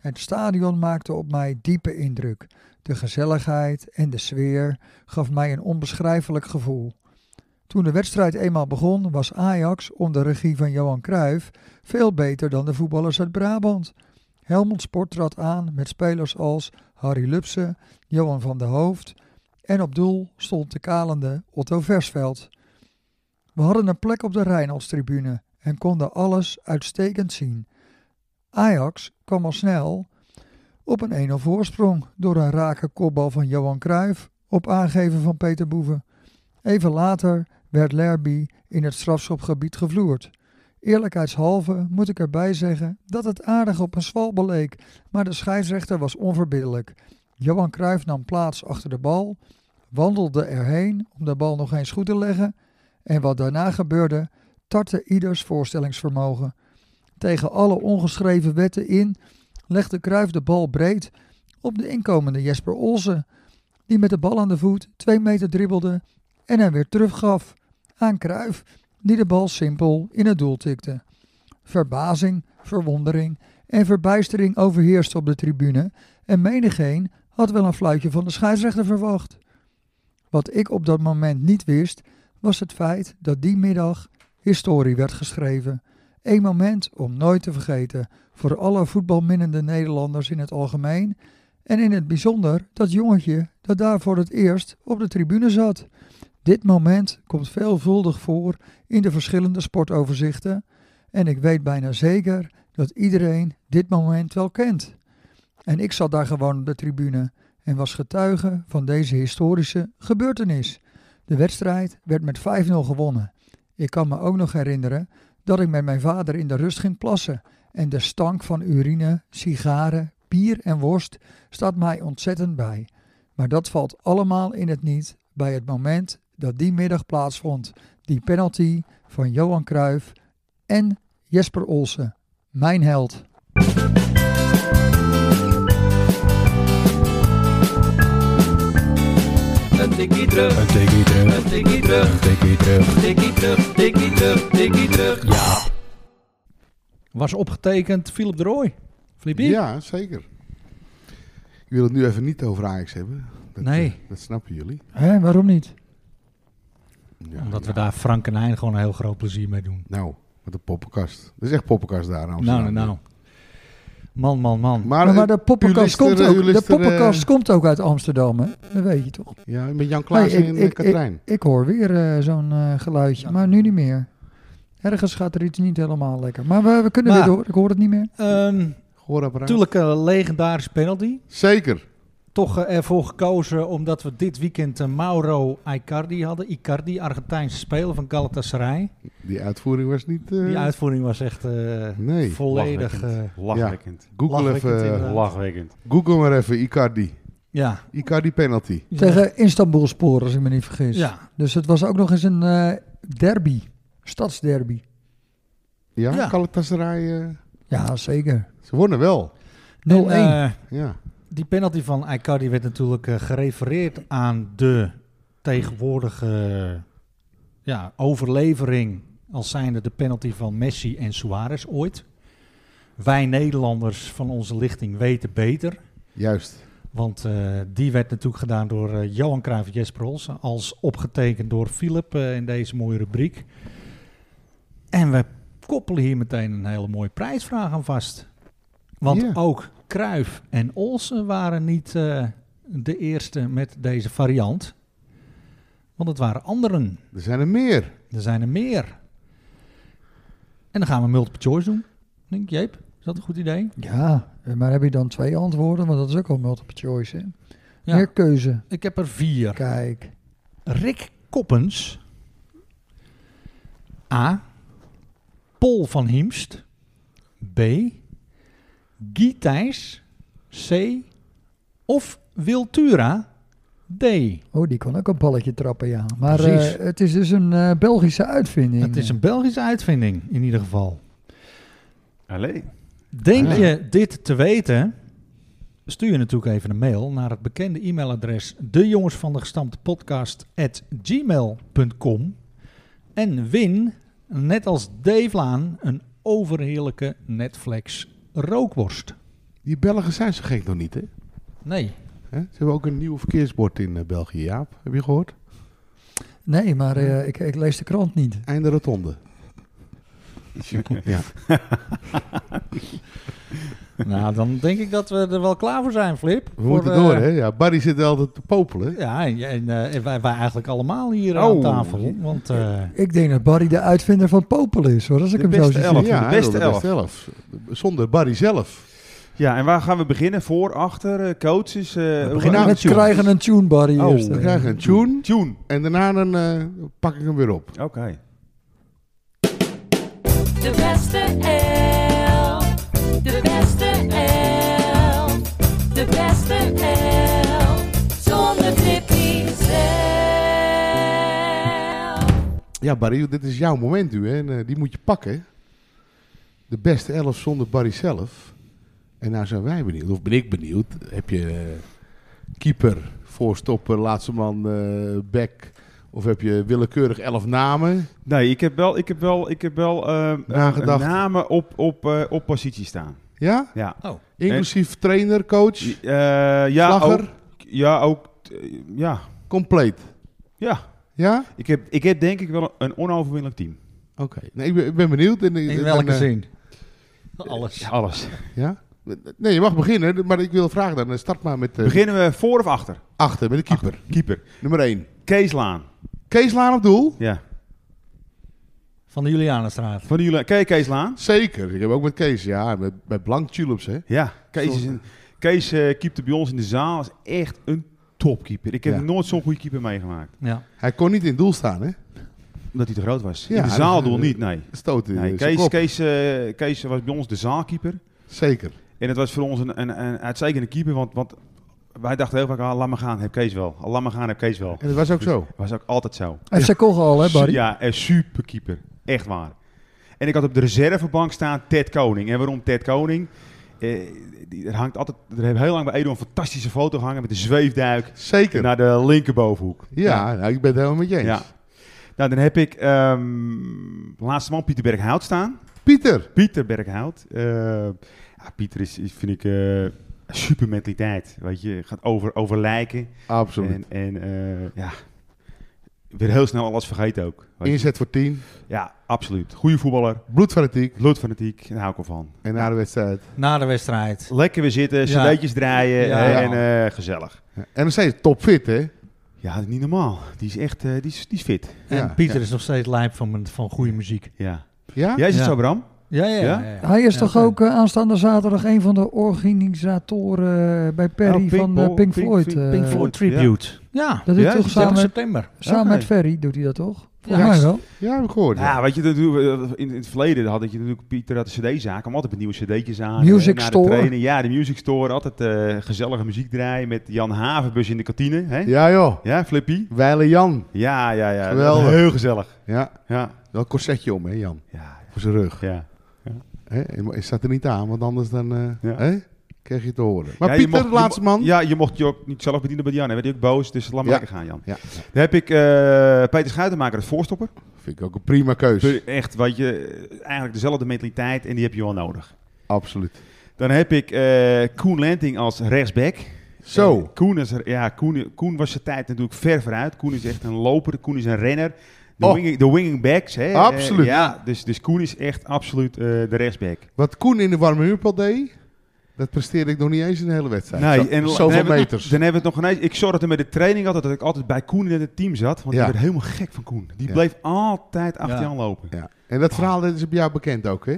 Het stadion maakte op mij diepe indruk. De gezelligheid en de sfeer gaf mij een onbeschrijfelijk gevoel. Toen de wedstrijd eenmaal begon, was Ajax onder regie van Johan Cruijff veel beter dan de voetballers uit Brabant. Helmond Sport trad aan met spelers als Harry Lubse, Johan van der Hoofd, en op doel stond de kalende Otto Versveld. We hadden een plek op de Rijnaldstribune en konden alles uitstekend zien. Ajax kwam al snel op een 1-0 voorsprong door een rake kopbal van Johan Cruijff op aangeven van Peter Boeven. Even later werd Lerby in het strafschopgebied gevloerd. Eerlijkheidshalve moet ik erbij zeggen dat het aardig op een zwalbe leek, maar de scheidsrechter was onverbiddelijk. Johan Cruijff nam plaats achter de bal, wandelde erheen om de bal nog eens goed te leggen en wat daarna gebeurde tartte ieders voorstellingsvermogen. Tegen alle ongeschreven wetten in legde Cruijff de bal breed op de inkomende Jesper Olsen, die met de bal aan de voet twee meter dribbelde en hem weer teruggaf aan Cruijff, die de bal simpel in het doel tikte. Verbazing, verwondering en verbijstering overheersten op de tribune en menigeen had wel een fluitje van de scheidsrechter verwacht. Wat ik op dat moment niet wist, was het feit dat die middag historie werd geschreven. Een moment om nooit te vergeten voor alle voetbalminnende Nederlanders in het algemeen en in het bijzonder dat jongetje dat daar voor het eerst op de tribune zat. Dit moment komt veelvuldig voor in de verschillende sportoverzichten en ik weet bijna zeker dat iedereen dit moment wel kent. En ik zat daar gewoon op de tribune en was getuige van deze historische gebeurtenis. De wedstrijd werd met 5-0 gewonnen. Ik kan me ook nog herinneren dat ik met mijn vader in de rust ging plassen en de stank van urine, sigaren, bier en worst staat mij ontzettend bij. Maar dat valt allemaal in het niet bij het moment dat die middag plaatsvond, die penalty van Johan Cruijff en Jesper Olsen, mijn held. Een tikkie terug, Een tikkie terug, een tikkie terug, een tikkie terug. tikkie terug, tikkie terug, tikkie terug. Was opgetekend Philip de Rooij. Flippie? ja, zeker. Ik wil het nu even niet over Ajax hebben. Dat, Nee. eh, dat snappen jullie. Hè, waarom niet? Ja, Omdat we ja. daar Frank en Hein gewoon een heel groot plezier mee doen. Nou, met de poppenkast. Dat is echt poppenkast daar in Nou, Amsterdam. nou, nou. Man, man, man. Maar, Maar, maar eh, de poppenkast, u list komt, er, eh, ook, u de list er, eh, poppenkast komt ook uit Amsterdam, hè? Dat weet je toch? Ja, met Jan Klaassen Nee, ik- en eh, ik- Katrijn. Ik hoor weer eh, zo'n eh, geluidje, maar nu niet meer. Ergens gaat er iets niet helemaal lekker. Maar we, we kunnen Maar- weer door, ik hoor het niet meer. Ehm, Gehoorapparaat. natuurlijk een legendarische penalty. Zeker. Toch eh, ervoor gekozen omdat we dit weekend eh, Mauro Icardi hadden. Icardi, Argentijnse speler van Galatasaray. Die uitvoering was niet... eh, Die uitvoering was echt eh, Nee. volledig... Lachwekkend. eh, Lachwekkend. Google, Lachwekkend even, eh, inderdaad. Lachwekkend. Google maar even Icardi. ja. Icardi penalty. Tegen Istanbul sporen, als ik me niet vergis. Ja. Dus het was ook nog eens een eh, derby, stadsderby. Ja, Ja. Galatasaray. eh, Ja, zeker. 0-1. ze wonnen wel. En, eh, Ja. die penalty van Icardi werd natuurlijk eh, gerefereerd aan de tegenwoordige ja, overlevering als zijnde de penalty van Messi en Suarez ooit. Wij Nederlanders van onze lichting weten beter. Juist. Want eh, die werd natuurlijk gedaan door eh, Johan Cruijff Jesper Olsen. Als opgetekend door Philip eh, in deze mooie rubriek. En we koppelen hier meteen een hele mooie prijsvraag aan vast. Want Ja. ook Cruijff en Olsen waren niet eh, de eerste met deze variant. Want het waren anderen. Er zijn er meer. Er zijn er meer. En dan gaan we multiple choice doen. Ik Denk Jeep, is dat een goed idee? Ja, maar heb je dan twee antwoorden? Want dat is ook al multiple choice, hè? Ja. Meer keuze. Ik heb er vier. Kijk. Rick Koppens. A. Paul van Hiemst. B. Guy Thijs. C. Of Wiltura. D. Oh, die kon ook een balletje trappen, ja. Maar Precies. eh, het is dus een eh, Belgische uitvinding. Het is een Belgische uitvinding in ieder geval. Allee. Denk Ah. je dit te weten? Stuur je natuurlijk even een mail naar het bekende e-mailadres de jongens van de gestampte podcast gmail.com en win, net als Dave Laan, een overheerlijke Netflix rookworst. Die Belgen zijn zo gek nog niet, hè? Nee. Hè? Ze hebben ook een nieuw verkeersbord in eh, België, Jaap. Heb je gehoord? Nee, maar eh, ik, ik lees de krant niet. Einde rotonde. ja. Nou, dan denk ik dat we er wel klaar voor zijn, Flip. We moeten door, hè? Ja, Barry zit er altijd te popelen. Ja, en, en, eh, wij, wij eigenlijk allemaal hier aan Oh. tafel. Want eh, Ik denk dat Barry de uitvinder van Popel is, hoor. Als ik De hem zo beste zie. elf. zitten. ja, de hij beste wil elf. Zonder Barry zelf. Ja, en waar gaan we beginnen? Voor, achter, eh, coaches? eh, hoe beginnen gaan We aan- tune. krijgen een tune, Barry. Oh, eerst, We eh. krijgen een tune Tune. en daarna dan, eh, pak ik hem weer op. Oké. De beste elf. De beste elf. De beste elf. Zonder Tippy zelf. Ja, Barry, dit is jouw moment nu, hè? En eh, die moet je pakken. De beste elf zonder Barry zelf. En nou zijn wij benieuwd, of ben ik benieuwd. Heb je eh, keeper, voorstopper, laatste man, eh back... Of heb je willekeurig elf namen? Nee, ik heb wel, ik heb wel, ik heb wel ehm, Nagedacht. eh, namen op, op, eh, op positie staan. Ja? Ja. oh, Inclusief trainer, coach, Eh, ja, slagger, ook, ja, ook, eh, ja, compleet. ja. Ja? Ik heb, ik heb denk ik wel een onoverwinnelijk team. Oké. Nee, ik ben, ik ben benieuwd. En, in en- welke en, eh, zin? Alles. Alles. Ja? Nee, je mag beginnen, maar ik wil vragen dan. eh, Start maar met eh Beginnen we voor of achter? achter, met de keeper. Keeper. Nummer 1. Kees Laan. Kees Laan op doel? Ja. Van de Julianenstraat. Van jullie, ken je Kees Laan? Zeker. Ik heb ook met Kees, ja, met, met Blank Tulips, hè. Ja. Kees, is Zo. een, Kees eh, keepte bij ons in de zaal. is echt een topkeeper. Ik heb Ja. nooit zo'n goede keeper meegemaakt. Ja. Hij kon niet in het doel staan, hè. Omdat hij te groot was. Ja, in de dat- zaaldoel niet, nee. Stoot in nee zijn Kees, kop. Kees, eh, Kees was bij ons de zaalkeeper. Zeker. En het was voor ons een, een, een uitstekende keeper, want, want wij dachten heel vaak, ah, laat maar gaan, heb Kees wel. Ah, laat maar gaan, heb Kees wel. En dat was ook zo. Was ook altijd zo. FC Kogel al, hè, Barry? Ja, een superkeeper. Echt waar. En ik had op de reservebank staan Ted Koning. En waarom Ted Koning? Eh, die, er hangt altijd, er hebben heel lang bij Edo een fantastische foto gehangen met de zweefduik Zeker. naar de linkerbovenhoek. ja, nou, ik ben het helemaal met je eens. Nou, Ja. Nou, dan heb ik ehm, laatste man Pieter Berghout staan. Pieter. Pieter Berghout. Eh, ja, Pieter is, is, vind ik, eh super mentaliteit. Weet je, gaat over, over lijken. Absoluut. En, en eh, ja, weer heel snel alles vergeten ook. Weet je. Inzet voor 10. Ja, absoluut. Goede voetballer. Bloedfanatiek. Bloedfanatiek, daar hou ik al van. En na de wedstrijd. Na de wedstrijd. Lekker weer zitten, Ja. cd'tjes draaien Ja. eh, en eh, gezellig. Ja. En nog steeds topfit, hè. Ja, dat is niet normaal. Die is echt eh, die is, die is fit. En Ja. Pieter is nog steeds lijp van, van goede muziek. Ja. Ja? Jij zit Ja. zo, Bram? Ja, ja, ja. Ja? ja, ja. Hij is Ja, toch oké. ook eh, aanstaande zaterdag een van de organisatoren eh, bij Perry Oh, Pink van eh, Ball- Pink Pink- Floyd. Pink- eh, Pink Floyd Ja. Tribute. Ja, Dat doet Ja, hij toch is dat samen, 30 met, september. samen Oké. met Ferry, doet hij dat toch? Volgens Ja. mij wel. Ja, heb ik gehoord. ja. Ja, weet je, dat doen we, eh, in, in het verleden had ik je natuurlijk, Pieter had de cd-zaak, kwam altijd met nieuwe cd'tjes aan. Music eh, na de Store. training. Ja, de music store, altijd eh, gezellige muziek draaien met Jan Havenbus in de kantine. Hè? Ja. Ja, joh. Flippy? Weile Jan. Ja, ja, ja. Geweldig. Heel gezellig. Ja. Ja, Wel een corsetje om, hè, Jan. ja, Voor zijn rug. ja. Hè? En- maar Hij staat er niet aan, want anders dan... eh, Ja. hè? kreeg je te horen. Maar Ja, je Pieter, mocht- je laatste mo- man. Ja, je mocht je ook niet zelf bedienen bij Jan. Hij werd ook boos, dus laat maar Ja. lekker gaan, Jan. Ja. Dan heb ik eh, Peter Schuitenmaker, de voorstopper. Vind ik ook een prima keus. Echt, wat je, eh, eigenlijk dezelfde mentaliteit en die heb je wel nodig. Absoluut. Dan heb ik eh, Koen Lenting als rechtsback. Eh, Zo. Koen, is er, ja, Koen, Koen was zijn tijd natuurlijk ver vooruit. Koen is echt een loper, Koen is een renner. De, Oh. winging, de winging backs, hè? eh, Absoluut. ja, dus, dus Koen is echt absoluut eh, de rechtsback. Wat Koen in de warme huurpot deed, dat presteerde ik nog niet eens in de hele wedstrijd. Zo- en dan Zoveel hebben we- meters. Dan hebben we het nog ineens. Ik zorgde met de training altijd dat ik altijd bij Koen in het team zat. Want Ja. ik werd helemaal gek van Koen. Die Ja. bleef altijd achter Ja. je aanlopen. Ja. En dat verhaal dat is op jou bekend ook, hè?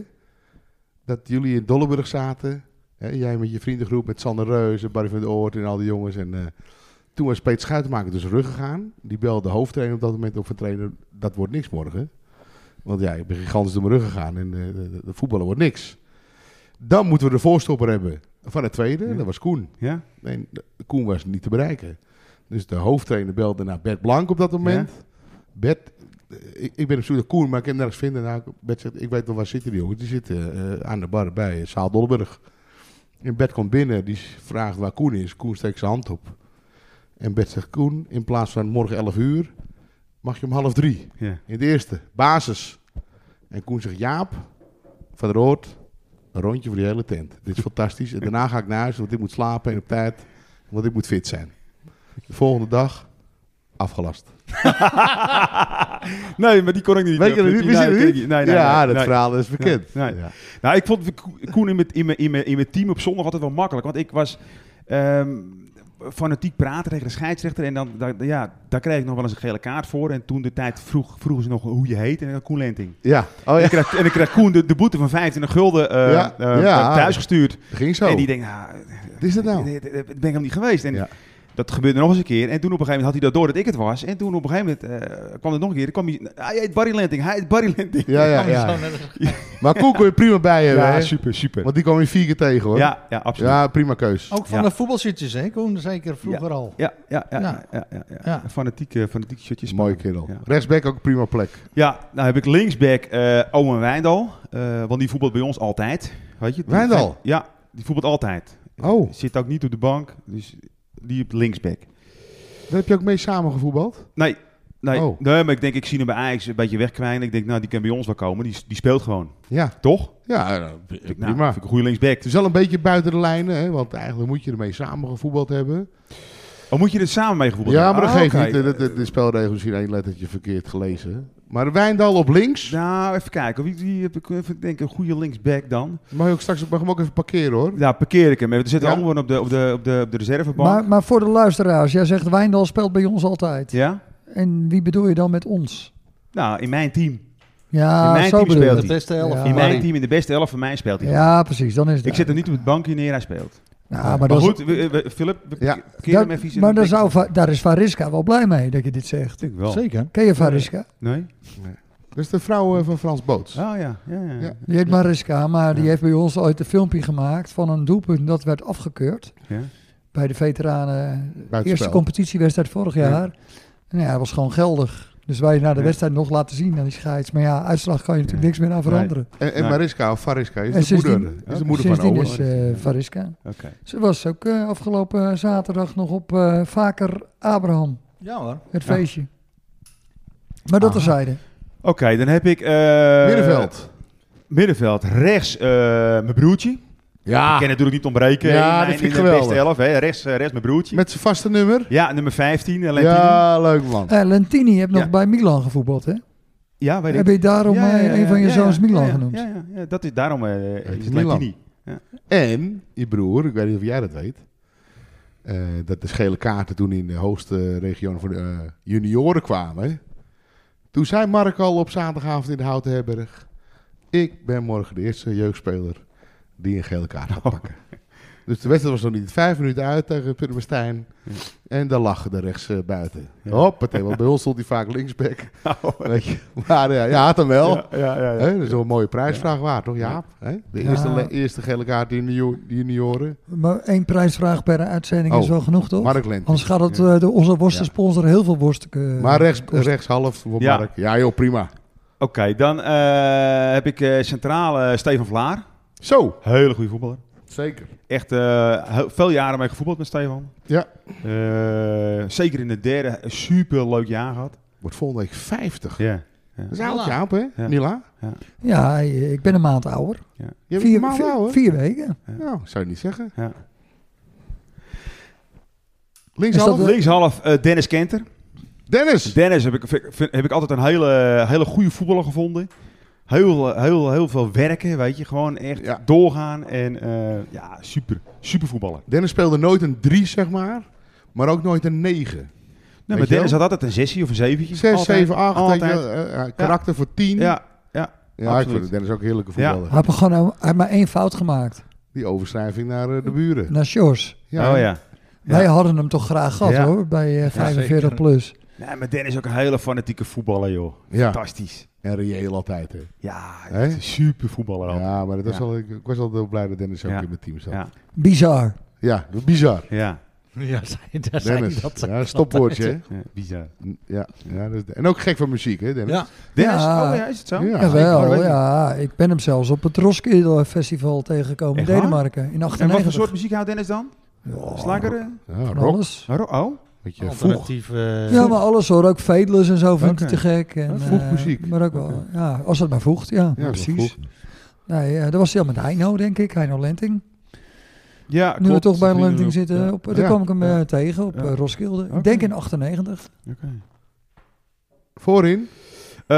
Dat jullie in Dolleburg zaten. Hè? Jij met je vriendengroep, met Sander Reus en Barry van der Oort en al die jongens. En eh, toen was Peter Schuitenmaker dus teruggegaan. Die belde de hoofdtrainer op dat moment op van trainer, dat wordt niks morgen. Want ja, ik ben gigantisch door mijn rug gegaan en eh, de, de- de voetballen wordt niks. Dan moeten we de voorstopper hebben van het tweede, Ja. dat was Koen. Ja? Nee, de- Koen was niet te bereiken. Dus de hoofdtrainer belde naar Bert Blank op dat moment. Bert, eh, ik, ik ben op zoek naar Koen, maar ik kan hem nergens vinden. Nou, Bert zegt, ik weet wel waar zitten die jongens. Die zitten eh, aan de bar bij eh, Saal Dolleburg. En Bert komt binnen, die vraagt waar Koen is. Koen steekt zijn hand op. En Bert zegt, Koen, in plaats van morgen 11 uur, mag je om half drie. Ja. In de eerste, basis. En Koen zegt, Jaap, van der Oort, een rondje voor die hele tent. Dit is fantastisch. En daarna ga ik naar huis, want ik moet slapen en op tijd. Want ik moet fit zijn. De volgende dag, afgelast. nee, maar die kon ik niet. Weet je dat Nee, niet? Wist je nee, dat nee, niet? nee, nee, ja, nee, dat nee. verhaal is bekend. Nee, nee. Ja. Nou, ik vond Ko- Koen in mijn, in, mijn, in, mijn, in mijn team op zondag altijd wel makkelijk. Want ik was ehm, fanatiek praten tegen de scheidsrechter. En dan, daar- ja, daar kreeg ik nog wel eens een gele kaart voor. En toen de tijd vroeg, vroegen ze nog hoe je heet. En dan Koen Lenting. Ja. oh En ja, ik kreeg, en ik kreeg Koen de, de boete van 25 gulden eh Ja, eh, ja. thuisgestuurd. dat ging zo. En die denkt, ah, Wat is dat nou? Dat eh, ben ik hem niet geweest. En Ja. dat gebeurde nog eens een keer. En toen op een gegeven moment had hij dat door dat ik het was. En toen op een gegeven moment eh, kwam het nog een keer. Dan kwam hij, hij heet Barry Lenting, hij heet Barry Lenting. Ja, ja, ja. Maar Koen kon je prima bij hebben. hè? super, super. Want die kwam je vier keer tegen hoor. ja, Oh, ja, absoluut. Ja. Ja, prima keus. Ook van Ja. de voetbalshirtjes, hè? Koen, zeker vroeger al. Ja, ja, ja, ja, Ja. ja, ja, Ja. Fanatieke, fanatieke shirtjes. Mooie kerel. Ja. Rechtsback ook een prima plek. Ja, nou heb ik linksback eh Owen Wijndal. eh, want die voetbalt bij ons altijd. Weet je? Die- Wijndal? Ja, die voetbalt altijd. Oh, Zit ook niet op de bank. Dus die op linksback. daar heb je ook mee samengevoetbald? Nee. Nee, Oh. nee, maar ik denk, ik zie hem bij Ajax een beetje wegkwijnen. Ik denk, nou, die kan bij ons wel komen. Die, die speelt gewoon. Ja. Toch? Ja, nou, Ik, nou, prima. Vind ik een goede linksback. Het is wel een beetje buiten de lijnen, hè? want eigenlijk moet je ermee samengevoetbald hebben. Oh, moet je er samen mee gevoetbald Ja, maar hebben? dat Ah, geeft oké. niet. De, de, de spelregels misschien één lettertje verkeerd gelezen. Maar Wijndal op links. Nou, even kijken. Wie, wie heb ik even denk, een goede linksback dan? Mag je ook straks mag hem ook even parkeren hoor. Ja, parkeer ik hem. We zitten Ja? allemaal gewoon op de, op de, op de, op de reservebank. Maar, maar voor de luisteraars, jij zegt Wijndal speelt bij ons altijd. Ja? En wie bedoel je dan met ons? Nou, in mijn team. In Ja, mijn zo team bedoel speelt ik. De beste helft. Ja. van In mijn Barry. team, in de beste elf van mij speelt hij. Ja, precies, dan is het. Ik zet hem niet op het bankje neer, hij speelt. Ja, Maar maar Maar dat is- goed, we- we- Philip, we Ja. parkeren hem dat- even. maar daar, zou, Va- daar is Variska wel blij mee dat je dit zegt. Ik wel. Zeker. Ken je Variska? Nee? Dat is de vrouw eh, van Frans Boots. Oh ja. ja, ja. Ja. Die heet Mariska, maar die heeft bij ons ooit een filmpje gemaakt van een doelpunt dat werd afgekeurd. Ja. Bij de veteranen, de Buitenspel. eerste competitiewedstrijd vorig Ja. jaar. En ja, dat was gewoon geldig. Dus wij na de Ja. wedstrijd nog laten zien aan die scheids. Maar ja, uitslag kan je natuurlijk niks meer aan veranderen. En, en Nee. Mariska of Fariska is En de sindsdien- moeder. Is de moeder van Sindsdien Owen. is eh Variska. Oké. Ze was ook eh, afgelopen zaterdag nog op eh, Vaker Abraham, Ja hoor. het feestje. Maar dat Aha. terzijde. Oké, dan heb ik... eh, Middenveld. Middenveld. Rechts eh, mijn broertje. Ik Ja. kan natuurlijk niet ontbreken Ja, in, dat mijn- vind ik in de beste geweldig. elf. Hè. Rechts, eh, rechts mijn broertje. Met zijn vaste nummer. Ja, nummer 15. eh, Lentini. Ja, Ja, leuk man. Eh Lentini heeft nog Ja. bij Milan gevoetbald, hè? weet ik. Heb je daarom Ja, ja, eh, ja, een van je ja, zoons ja, Milan ja, genoemd? Ja, ja, ja, dat is daarom eh is het Milan. Lentini. En je broer, ik weet niet of jij dat weet. eh, dat de gele kaarten toen in de hoogste regio voor de eh, junioren kwamen. Toen zei Mark al op zaterdagavond in de Houten Herberg... Ik ben morgen de eerste jeugdspeler die een gele kaart gaat pakken. Oh. Dus de wedstrijd was nog niet vijf minuten uit tegen Purmerstein. En daar lachen de rechts eh, buiten. Ja. Hoppatee, want bij ons stond hij vaak linksback. Weet je. Maar ja, je had hem wel. ja, Oh, ja. Hè, dat is wel een mooie prijsvraag waard, toch Jaap? Hè? De Ja. eerste, le- eerste gele kaart die junior- die junioren. Maar één prijsvraag per uitzending Oh, is wel genoeg, toch? Mark Lent. Anders gaat het eh, door onze worstensponsor heel veel worsten. eh, maar rechts, kosten. rechts half voor Ja. Mark. Ja joh, prima. Oké, dan eh, heb ik eh centrale Stefan Vlaar. Zo, Hele goede voetballer. Zeker. Echt eh, heel- veel jaren mee gevoetbald met Stefan. Ja. Eh, zeker in de derde, een superleuk jaar gehad. Wordt volgende week 50. Ja. Dat is een oud Mila. Jaap, hè? Ja. Mila? Ja, eh, ik ben een maand ouder. Je bent vier, normaal vier- ouder. vier weken. Nou, zou je niet zeggen. Ja. Links Is dat half. de- Linkshalf eh, Dennis Kenter. Dennis! Dennis heb ik, vind- vind- heb ik altijd een hele, hele goede voetballer gevonden. Heel, heel, heel veel werken, weet je. Gewoon echt Ja. doorgaan. En eh, ja, super. Super voetballer. Dennis speelde nooit een 3, zeg maar. Maar ook nooit een 9. Nee, Nou, maar Weet je Dennis wel? had altijd een zesje of een zeventje. 6, Altijd, 7, 8. Altijd. eh, karakter voor 10. Ja, Ja, ja. ik absoluut. vind Dennis ook een heerlijke voetballer. Hij heeft gewoon nou- hij heeft maar één fout gemaakt. Die overschrijving naar eh, de buren. Naar Sjors. Oh ja. Ja. Wij hadden hem toch graag gehad Ja. hoor, bij eh, 45 zeker. plus. Nee, maar Dennis is ook een hele fanatieke voetballer, joh. ja. Fantastisch. En reëel altijd, hè. Ja, Hè? super voetballer. Ja. Ja, maar dat was Ja. al, ik ik was al heel blij dat Dennis ook Ja. in mijn team zat. Ja, Ja. Bizar. bizar. Ja. Ja, zei, daar zei Dennis, hij dat. ja, stopwoordje. hè? ja, bizar. Ja, ja dat is- en ook gek van muziek, hè Dennis? Ja, Dennis, Ja. oh ja, is het zo? Ja. Jawel, ik- ja. Ik ben hem zelfs op het Roskilde Festival tegengekomen in Echt waar? Denemarken in En wat voor 98. soort muziek houdt Dennis dan? Oh. Ja, Slakkeren? Ja, van rock, alles. Ro- Oh? weet je, vroeg. alternatief. eh, Ja, maar alles hoor. Ook Fadeless en zo vind ik Oké. te gek. En, Vroeg eh, muziek. Maar ook wel, ja, als het maar voegt, ja. Ja, precies. vroeg. Nee, eh, dat was hij al met Heino, denk ik. Heino Lenting. Ja, nu we klopt. toch bij Vrienden Lenting ook. zitten, Ja. op, daar kwam ik hem eh, tegen op Ja. eh, Roskilde. Oké. Ik denk in 98. Oké. Voorin, Eh,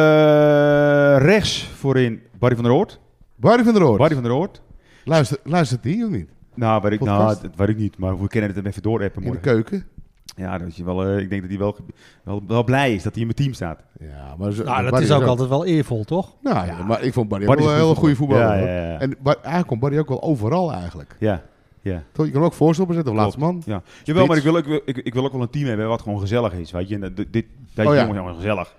rechts voorin Barry van der Oort. Barry van der Oort. Barry van der Oort. Luister, luistert die of niet? Nou, weet ik, nou, Podcast? dat weet ik niet, maar we kennen het hem even doorappen In de morgen. keuken? Ja, dat je wel, eh, ik denk dat hij wel, ge- wel, wel blij is dat hij in mijn team staat. Ja, maar zo- nou, dat Barry is ook altijd wel eervol, toch? Nou ja, maar ik vond Barry, Barry ook is wel een een hele goede voetballer. Ja, hoor. ja, ja. En Bar- eigenlijk komt Barry ook wel overal eigenlijk. Ja, ja. Toch, je kan hem ook voorstopper zetten of laatste man. Ja. Jawel, maar ik wil, ook, ik, ik wil ook wel een team hebben wat gewoon gezellig is. Weet je, en dat- dit, dit deze Oh ja. jongens zijn gewoon gezellig.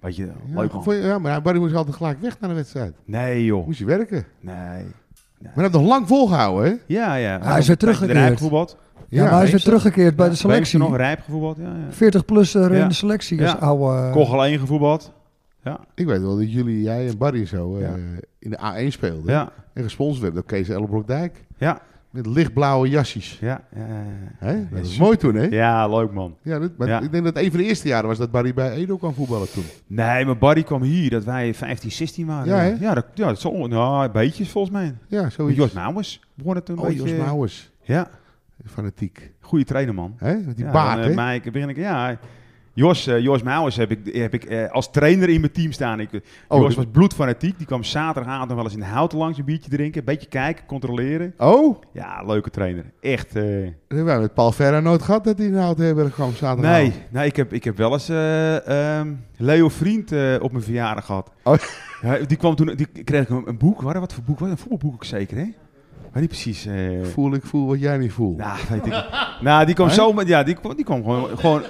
Weet je, Ja, leuk man. vond je- ja, maar Barry moest altijd gelijk weg naar de wedstrijd. Nee joh, Moest hij werken. nee. Maar hij heeft nog lang volgehouden, hè? Ja, ja. Hij is weer teruggekeerd. Rijp gevoetbald. Ja, maar hij is weer teruggekeerd bij de Beemster selectie. nog, Rijp gevoetbald, ja. ja. 40 plus er Ja. in de selectie Ja. als oude... eh, Kochel 1 gevoetbald. Ik weet wel dat jullie, jij en Barry zo eh, Ja. in de A1 speelden. Ja, En gesponsord werd door Kees Elbroek-Dijk. Ja. Met lichtblauwe jasjes. ja. ja, ja. Hè? Dat was super. mooi toen, hè? Ja. Ja, leuk man. dat, maar Ja. ik denk dat het een van de eerste jaren was dat Barry bij Edo kwam voetballen toen. Nee, maar Barry kwam hier dat wij 15, 16 waren. Ja, hè? ja, dat, ja, dat zal, on- nou, beetjes volgens mij. Ja, Met zoiets. Jos Mouwers begon het een oh, beetje. Jos Mouwers. Ja, Fanatiek. goede trainer man. Hè? Met die ja, baard, dan, hè? eh, Mike, begin ik, ja. Jos, eh, Jos Mouwers heb ik, heb ik eh, als trainer in mijn team staan. Ik, eh, Oh, Jos dit- was bloedfanatiek. Die kwam zaterdagavond nog wel eens in houten langs een biertje drinken. Een beetje kijken, controleren. Oh, Ja, leuke trainer. Echt. eh, we hebben met Paul Ferra nooit gehad dat hij in Houtherberg kwam zaterdag. Nee, nee ik, heb, ik heb wel eens eh, ehm, Leo Vriend eh, op mijn verjaardag gehad. Oh. Ja, die kwam toen, die kreeg ik een, een boek. Waar, wat voor boek was het? Een voetbalboek ook zeker, hè? Maar niet precies. eh, Voel ik voel wat jij niet voelt. nou, weet ik. nou, die kwam Hè? zo met, ja, die kwam, die kwam gewoon, gewoon. die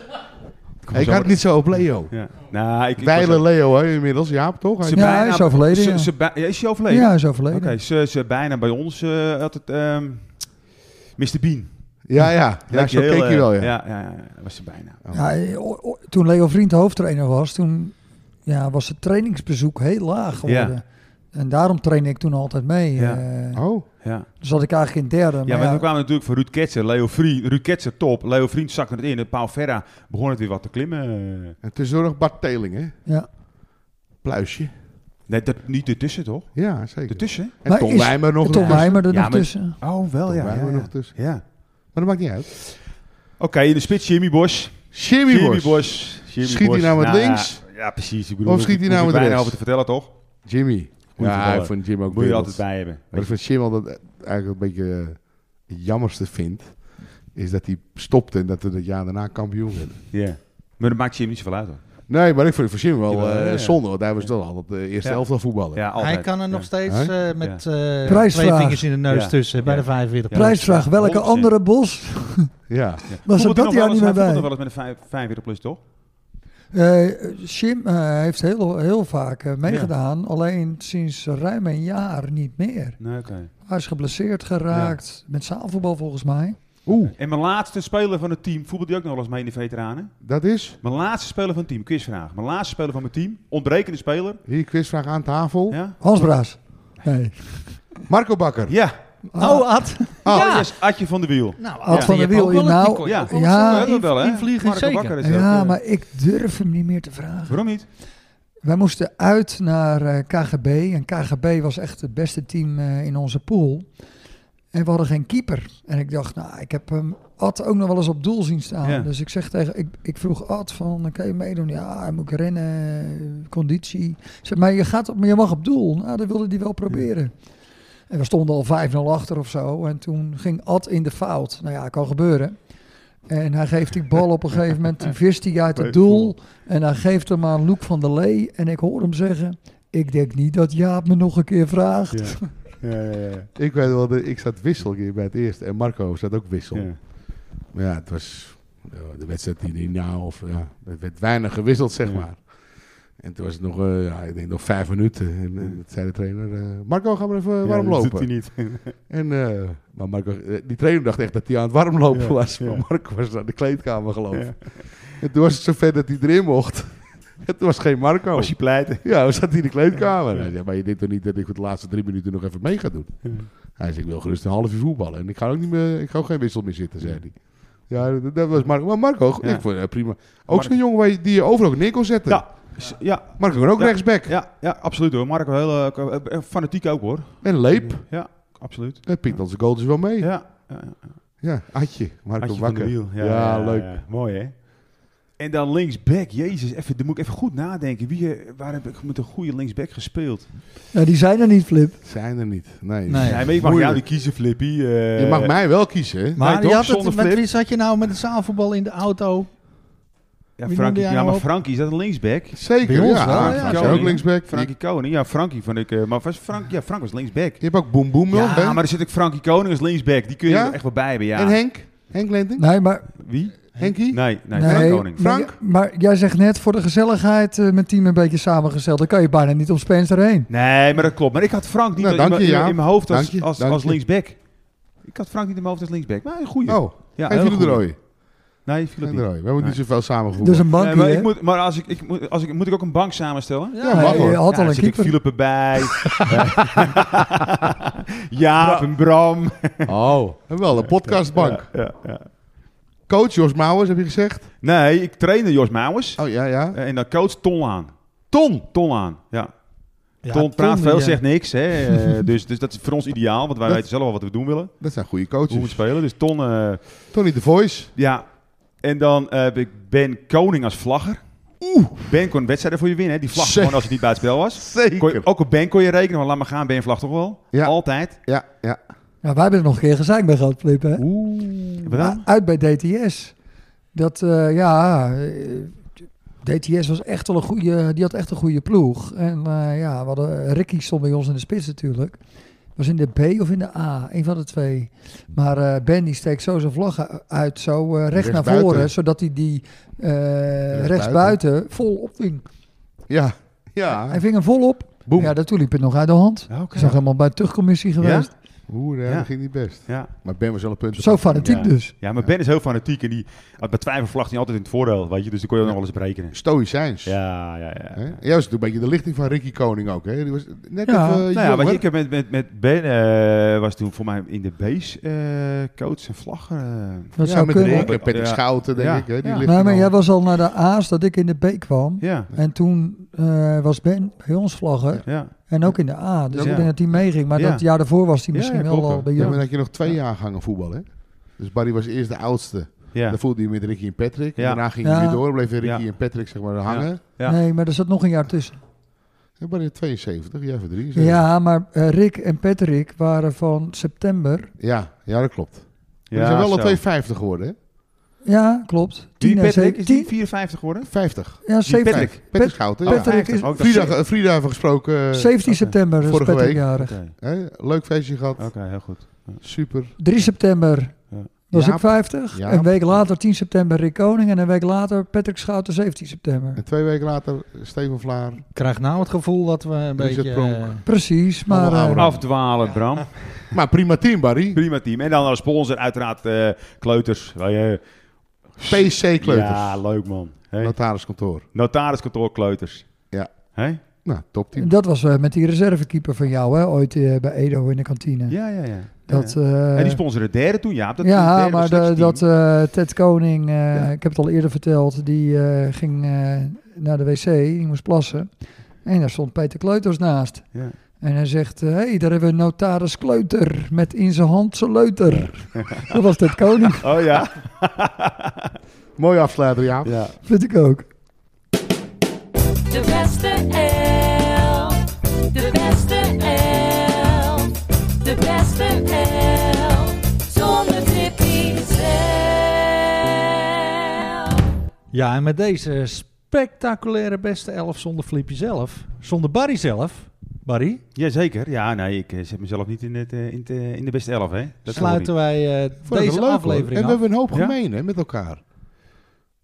kwam ik zo had met- het niet zo op Leo. Ja. Nou, ik, ik was- Wijlen Leo, hè, inmiddels. Jaap, toch? Hij- ze Ja, hij is overleden, ze- ja. ze bij- ja, is hij overleden? Ja, hij is overleden. Oké, ze, ze bijna bij ons eh had het ehm Mr. Bean. Ja, ja. ja Lijkt zo heel, keek hij eh, wel, ja. Ja, ja, ja, was ze bijna. Ja, eh, o- o- toen Leo Vriend hoofdtrainer was, toen ja, was het trainingsbezoek heel laag geworden. En daarom trainde ik toen altijd mee. Ja. eh. Oh, Ja. dus had ik eigenlijk in derde. Maar Ja, maar ja, we kwamen natuurlijk van Ruud Ketser, Leo Vriend, Ruud Ketser top, Leo Vriend zakte het in en Paul Verra begon het weer wat te klimmen. en tussendoor nog Bart Teling, hè? ja. Pluisje. Nee, dat, niet ertussen toch? Ja, zeker. Ertussen? En Maar Tom is- Wijmer nog. Tom ertussen. Heimer er Ja, nog maar- tussen. Oh, wel Tom ja. Wijmer ja, nog tussen. ja. Ja. Maar dat maakt niet uit. Oké, in de spits Jimmy Bosch. Jimmy, Bosch. Jimmy Schiet hij Bosch. nou met Nou, links? Ja, precies. Ik bedoel, Of schiet hij hoef nou ik met bijna rechts? over te vertellen toch? Jimmy. Ja, voetballer. ik vond Jim ook Moet je er werelds. altijd bij hebben. Wat ik van Jim altijd eigenlijk een beetje eh, het jammerste vind, is dat hij stopte en dat we het jaar daarna kampioen werden. Ja. Maar dat maakt Jim niet zoveel uit hoor. Nee, maar ik vond het voor Jim wel Jawel, eh, ja, ja. zonde, want hij was toch altijd de eerste Ja. elftal voetballer. Ja, altijd. Hij kan er nog Ja. steeds Hè? eh, met eh, Prijsvraag. twee vingers in de neus Ja. tussen bij Ja. de 45. Ja. Prijsvraag, welke 100%. andere bos Ja. was er Voetbalt hij dat jaar nog wel niet eens- meer hij voetbalt nog bij? wel eens met een vijf- 45 plus toch? Eh Jim eh, heeft heel, heel vaak eh, meegedaan, alleen sinds ruim een jaar niet meer. Nee, oké. Hij is geblesseerd geraakt met zaalvoetbal volgens mij. Oeh, En mijn laatste speler van het team, voetbalt die ook nog wel eens mee in de veteranen? dat is. Mijn laatste speler van het team, quizvraag. Mijn laatste speler van mijn team, ontbrekende speler. Hier, quizvraag aan tafel. Ja? Hans Braas. Nee. Marco Bakker. Ja. Oh, Ad. Oh, Ja. yes, Adje van de Wiel. Nou, Ad Ad van die der heb Wiel, ook wel nou, een- die kon je ja. ook wel Ja. zo dat hebben we wel, hè? Invliegen Marco zeker. Bakker is dat, Ja, eh. maar ik durf hem niet meer te vragen. Waarom niet? Wij moesten uit naar eh, KGB. En KGB was echt het beste team eh, in onze pool. En we hadden geen keeper. En ik dacht, nou, ik heb hem Ad ook nog wel eens op doel zien staan. Ja. Dus ik zeg tegen, ik, ik vroeg Ad van, kan je meedoen? Ja, moet ik rennen, eh, conditie. Ik Zeg, maar je gaat, op- maar je mag op doel. Nou, dat wilde hij wel proberen. En we stonden al 5-0 achter of zo. En toen ging Ad in de fout. Nou ja, kan gebeuren. En hij geeft die bal op een gegeven moment, die vist hij uit het doel. En hij geeft hem aan Luc van der Lee. En ik hoor hem zeggen, ik denk niet dat Jaap me nog een keer vraagt. Ja. Ja, ja, ja. Ik weet wel, dat ik zat wissel hier bij het eerste. En Marco zat ook wissel. Ja. Maar ja, het was ja, de wedstrijd die niet nou of ja, er werd weinig gewisseld, zeg Ja. maar. En toen was het nog, eh, ja, ik denk nog vijf minuten. En, en dat zei de trainer, eh, Marco, ga maar even eh, warm Ja, dat doet hij lopen. niet. En, eh, maar Marco, eh, die trainer dacht echt dat hij aan het warm lopen Ja, was. ja. Maar Marco was naar de kleedkamer geloof Ja. En toen was het zover dat hij erin mocht. Het was geen Marco. Was Oh, hij pleiten? Ja, we zaten in de kleedkamer. Ja. Hij zei, maar je denkt toch niet dat ik voor de laatste drie minuten nog even mee ga doen? Ja. Hij zei, ik wil gerust een half uur voetballen. En ik ga ook, niet meer, ik ga ook geen wissel meer zitten, zei hij. Ja, dat, dat was Marco. Maar Marco, Ja. ik vond het prima. Ook Marco- zo'n jongen waar je- die je overal neer kon zetten. Ja. S- Ja, Marco kan ook Ja. rechtsback. ja, ja, absoluut hoor. Marco, heel eh, k- eh, fanatiek ook hoor. En Leep. Ja, absoluut. En pikt dan zijn goal dus wel mee. Ja, Ja, ja, ja. Adje. Marco Adje van de Bakker. Wiel. Ja, Ja, leuk. ja. Mooi hè? En dan linksback. Jezus, even, daar moet ik even goed nadenken. Wie, eh, waar heb ik met een goede linksback gespeeld? Nou, die zijn er niet, Flip. Zijn er niet. Nee. Nee. Ja, maar ik mag jou Moeilijk. niet kiezen, Flippy. Eh, Je mag mij wel kiezen, hè? Maar Nee, die toch? had het, Zonder met flip. wie zat je nou met de zaalvoetbal in de auto? Ja, Wie noemde Frankie, jij ja nou maar op? Frankie, is dat een linksback? Zeker, Bij ons ja. wel, ja. Hij is Koning. ook linksback. Frankie Koning. Ja, Frankie van ik. eh, Maar was Frank, ja, Frank was linksback. Je hebt ook Boem Boem nog, hè? Ja, maar er zit ook Frankie Koning als linksback. Die kun je Ja? er echt wel bij hebben, ja. En Henk? Henk Lenting? Nee, maar, Wie? Henkie? Nee, nee, nee, Frank Koning. maar- Frank? Maar, jij zegt net, voor de gezelligheid, eh, mijn team een beetje samengesteld. Dan kan je bijna niet om Spencer heen. Nee, maar dat klopt. Maar ik had Frank niet Nou, in dank mijn- je, in, mijn- Jaap. in mijn hoofd als, Dank je, als, dank als je. linksback. Ik had Frank niet in mijn hoofd als linksback. Maar een goeie. Oh, ja, geef heel jullie de goeie. rooie. Nee, viel Geef het de niet. rooie. We hebben niet zoveel samen Dus voetbal. een bankje, Nee, maar hè? ik moet, maar als ik, ik, moet, als ik, moet ik ook een bank samenstellen? Ja, Ja, mag hoor. je had ja, al dan een zit ik keeper. Philip erbij. ja, en Bram. Oh, en wel, een podcastbank. Ja, ja. Coach Jos Mouwers, heb je gezegd? Nee, ik trainde Jos Mouwers. Oh ja, ja. En dan coach Ton aan. Ton! Ton aan, ja. Ja, Ton praat die, veel, eh, zegt niks. Hè. Eh, dus, dus dat is voor ons ideaal, want wij Dat- weten zelf al wat we doen willen. Dat zijn goede Hoe we moeten coaches. spelen. Dus Ton, eh, Tony de Voice. ja. En dan eh, heb ik Ben Koning als vlagger. Oeh. Ben kon wedstrijden voor je winnen. Hè. Die vlag Zeg. gewoon als het niet bij het spel was. Kon je- Zeker. ook op Ben kon je rekenen, maar laat maar gaan, Ben vlag toch wel? Ja. Altijd. Ja, ja. Nou, wij hebben er nog een keer gezegd bij Groot Flip, hè? Wat dan? Uit bij DTS. Dat, eh, ja... eh, DTS was echt wel een goede... Die had echt een goede ploeg. En eh, ja, we hadden... Ricky stond bij ons in de spits natuurlijk. Was in de B of in de A? Een van de twee. Maar eh, Ben die steekt zo zijn vlag u- uit, zo eh, recht naar Rechtsbuiten. voren, zodat hij die eh rechtsbuiten vol opving. Ja, Hij ja. ving hem vol op. Boem. Ja, daartoe liep het nog uit de hand. Oké. Ik zag helemaal bij de terugcommissie geweest. Oeh, ja, Ja. dat ging niet best. Ja. Maar Ben was wel een punt. Zo fanatiek Ja. dus. Ja, maar Ben is heel fanatiek en die had bij twijfel vlag hij altijd in het voordeel, weet je. Dus die kon je ook nog wel eens berekenen. Stoïcijns. Ja. Ja, ja, ja. Nou Hè? Jij was toen een beetje de lichting van Ricky Koning ook, hè? Die was net Ja. even Nou ja, jonger. want ik heb met, met, met Ben, eh, was toen voor mij in de base eh, coach en vlagger. eh. Dat ja, zou met kunnen. Rick en Patrick Ja. Schouten, denk Ja. ik. Hè? Die Ja. lichting Nee, maar al. jij was al naar de A's dat ik in de B kwam. Ja, En toen eh, was Ben bij ons vlagger. ja. En ook in de A. Dus Ja. ik denk dat hij meeging. Maar Ja. dat jaar daarvoor was hij Ja, misschien ja, wel klopt, al hè. bij Ja, maar jullie. dan had je nog twee jaar gangen voetbal, hè? Dus Barry was eerst de oudste. ja. Dan voelde hij met Ricky en Patrick. En Ja. daarna ging Ja. hij weer door. Bleven Ricky Ja. en Patrick zeg maar hangen. Ja. Nee, maar er zat nog een jaar tussen. En Barry had 72, jij van 3. Ja, maar eh, Rick en Patrick waren van september. ja. Ja, dat klopt. Ja, die zijn wel al zo. 250 geworden, hè? Ja, klopt. Die en Patrick, ze- is die tien- 54 geworden? 50. ja, 70. Patrick. Patrick Pat- Schouten, ja. Patrick is 50, ook. Frida, eh, Frida heeft gesproken. eh, 17 september is Vorige Patrick week. jarig. Oké, hè? Leuk feestje gehad. Oké, heel goed. Super. 3 september Ja. was Jaap. ik 50. Jaap. Een week later 10 september Rick Koning. En een week later Patrick Schouten 17 september. En twee weken later eh, Steven Vlaar. Ik krijg nou het gevoel dat we een Er is beetje... het eh, pronk. Precies, maar... Allemaal eh, ouder. Afdwalen, Bram. Maar prima team, Barry. Prima team. En dan als sponsor uiteraard eh, Kleuters. Wij, eh, PC Kleuters. Ja, leuk man. Hey. Notariskantoor. Notariskantoor Kleuters. Ja. Hey? Nou, topteam. Dat was eh, met die reservekeeper van jou, hè? Ooit eh, bij Edo in de kantine. Ja, ja, ja. Dat, ja. eh, en die sponsoren het derde toen, Jaap. Dat ja, derde maar de- selectieteam. dat eh, Ted Koning, eh, Ja. ik heb het al eerder verteld, die eh, ging eh, naar de wc, die moest plassen. En daar stond Peter Kleuters naast. Ja. En hij zegt, hé, hey, daar hebben we notaris Kleuter met in zijn hand zijn leuter. Dat was Ted Koning, Oh ja. Mooi afsluiter, ja. ja. vind ik ook. De beste elf. De beste elf. De beste elf. Zonder trippie zelf. Ja, en met deze spectaculaire beste elf zonder Flipje zelf, zonder Barry zelf, Barry, Jazeker. Ja, nee, ik eh, zet mezelf niet in, het, eh, in, het, eh, in de beste elf, hè. Dat sluiten wij eh, Vond ik deze wel leuk, hoor. En aflevering we af. hebben een hoop Ja? gemeen hè, met elkaar.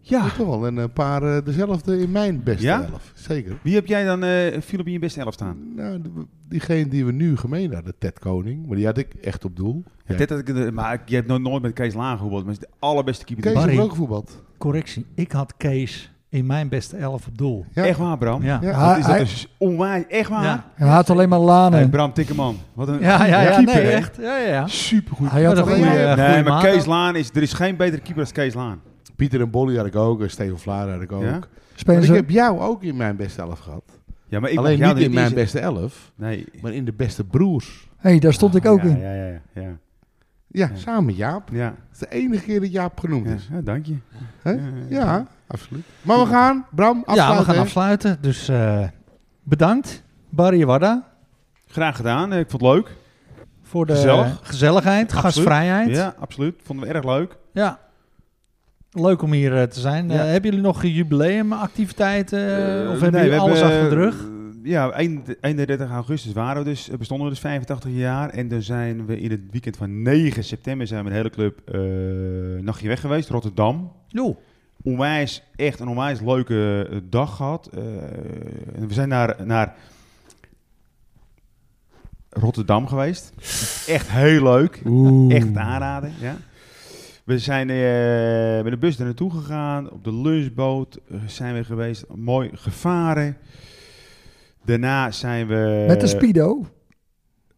Ja. toch wel. En een paar eh, dezelfde in mijn beste Ja? elf. Zeker. Wie heb jij dan, eh Philip, in je beste elf staan? Nou, de- diegene die we nu gemeen hadden, Ted Koning. Maar die had ik echt op doel. Ja. Dit had ik, de- maar ik- je hebt nog nooit met Kees Laan gevoetbald. Maar hij is de allerbeste keeper. die Kees er Barry. heeft ook voetbald. Correctie, ik had Kees in mijn beste elf op doel. Ja. Echt waar, Bram. Ja. Ja. Wat is dat Hij- een s- onwijs. Echt waar. Ja. Hij had alleen maar lanen. Hey, Bram Tikkerman. Wat een Ja, ja, ja, keeper, nee, hè. echt. Ja, ja, ja. Supergoed. Hij had Maar een dat goeie- goeie- Nee, goeie maar maat Kees ook. Laan is... Er is geen betere keeper als Kees Laan. Pieter en Bolly had ik ook. En Steven Vlaar had ik ook. Ja? Maar Spelen Ik ze- heb jou ook in mijn beste elf gehad. Ja, maar ik Alleen mag jou niet in er mijn in beste elf, Nee. maar in de beste broers. hey, daar stond ik ook Ah, ja, in. Ja, ja, ja. ja. Ja, Ja. samen met Jaap. ja. Het is de enige keer dat Jaap genoemd ja. is. ja dank je. Hè? Ja, ja. Ja, absoluut. Maar we gaan, Bram, afsluiten. Ja, we gaan hè? afsluiten. Dus eh, bedankt, Barry Warda, Graag gedaan. eh, Ik vond het leuk. voor de Gezellig. gezelligheid, Absoluut. gastvrijheid. Ja, absoluut. Vonden we erg leuk. Ja. Leuk om hier eh, te zijn. Eh, Ja. hebben jullie nog jubileumactiviteiten? eh, Eh, of hebben nee, jullie we alles hebben, achter de rug? eh, Ja, eind- 31 augustus waren we dus, eh, bestonden we dus 85 jaar. En dan zijn we in het weekend van 9 september zijn we de hele club eh nachtje weg geweest. Rotterdam. Jo. Onwijs, echt een onwijs leuke eh, dag gehad. Eh, en we zijn naar, naar Rotterdam geweest. Echt heel leuk. Echt aanraden, ja. We zijn eh, met de bus er naartoe gegaan. Op de lunchboot eh, zijn we geweest. Mooi gevaren. Daarna zijn we... Met de Speedo.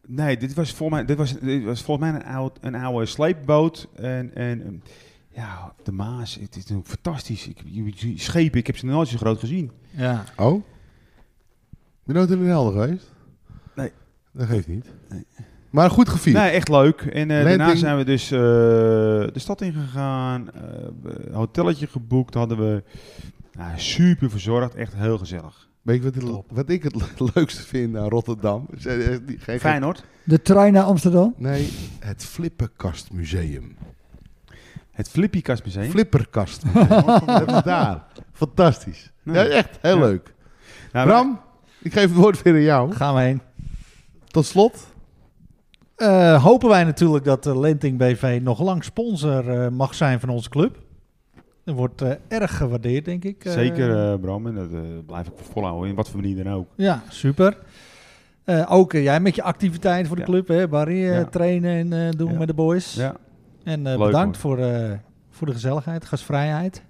Nee, dit was volgens mij, dit was, dit was volgens mij een, oud, een oude sleepboot. En, en en, ja, op de Maas. Het is natuurlijk fantastisch. Ik, je- je- schepen, ik heb ze nog nooit zo groot gezien. Ja. Oh? Ben je nooit in Den Helder geweest? Nee. Dat geeft niet. Maar goed gevierd. Nee, echt leuk. En eh, daarna Landing. zijn we dus eh, de stad ingegaan. eh, een hotelletje geboekt hadden we. Nou, super verzorgd. Echt heel gezellig. Weet je wat, het- wat ik het le- leukste vind aan Rotterdam? Is, eh, eh, die- geen- Fijn hoor. De trein naar Amsterdam. Nee, het Flipperkastmuseum. Het Flippykast Museum. Flipperkastmuseum. dat is daar. Fantastisch. Nee. Ja, echt heel Ja. leuk. Nou, Bram, ik geef het woord weer aan jou. Gaan we heen. Tot slot. Eh, hopen wij natuurlijk dat de Lenting BV nog lang sponsor eh, mag zijn van onze club. Dat wordt eh, erg gewaardeerd, denk ik. eh. Zeker eh, Bram. En dat eh, blijf ik volhouden. In wat voor manier dan ook. Ja, super. Eh, ook eh, jij met je activiteit voor de Ja. club, hè, Barry. eh, Ja. Trainen en eh, doen Ja. met de boys. Ja, En eh, Leuk, bedankt voor, eh, voor de gezelligheid, gastvrijheid.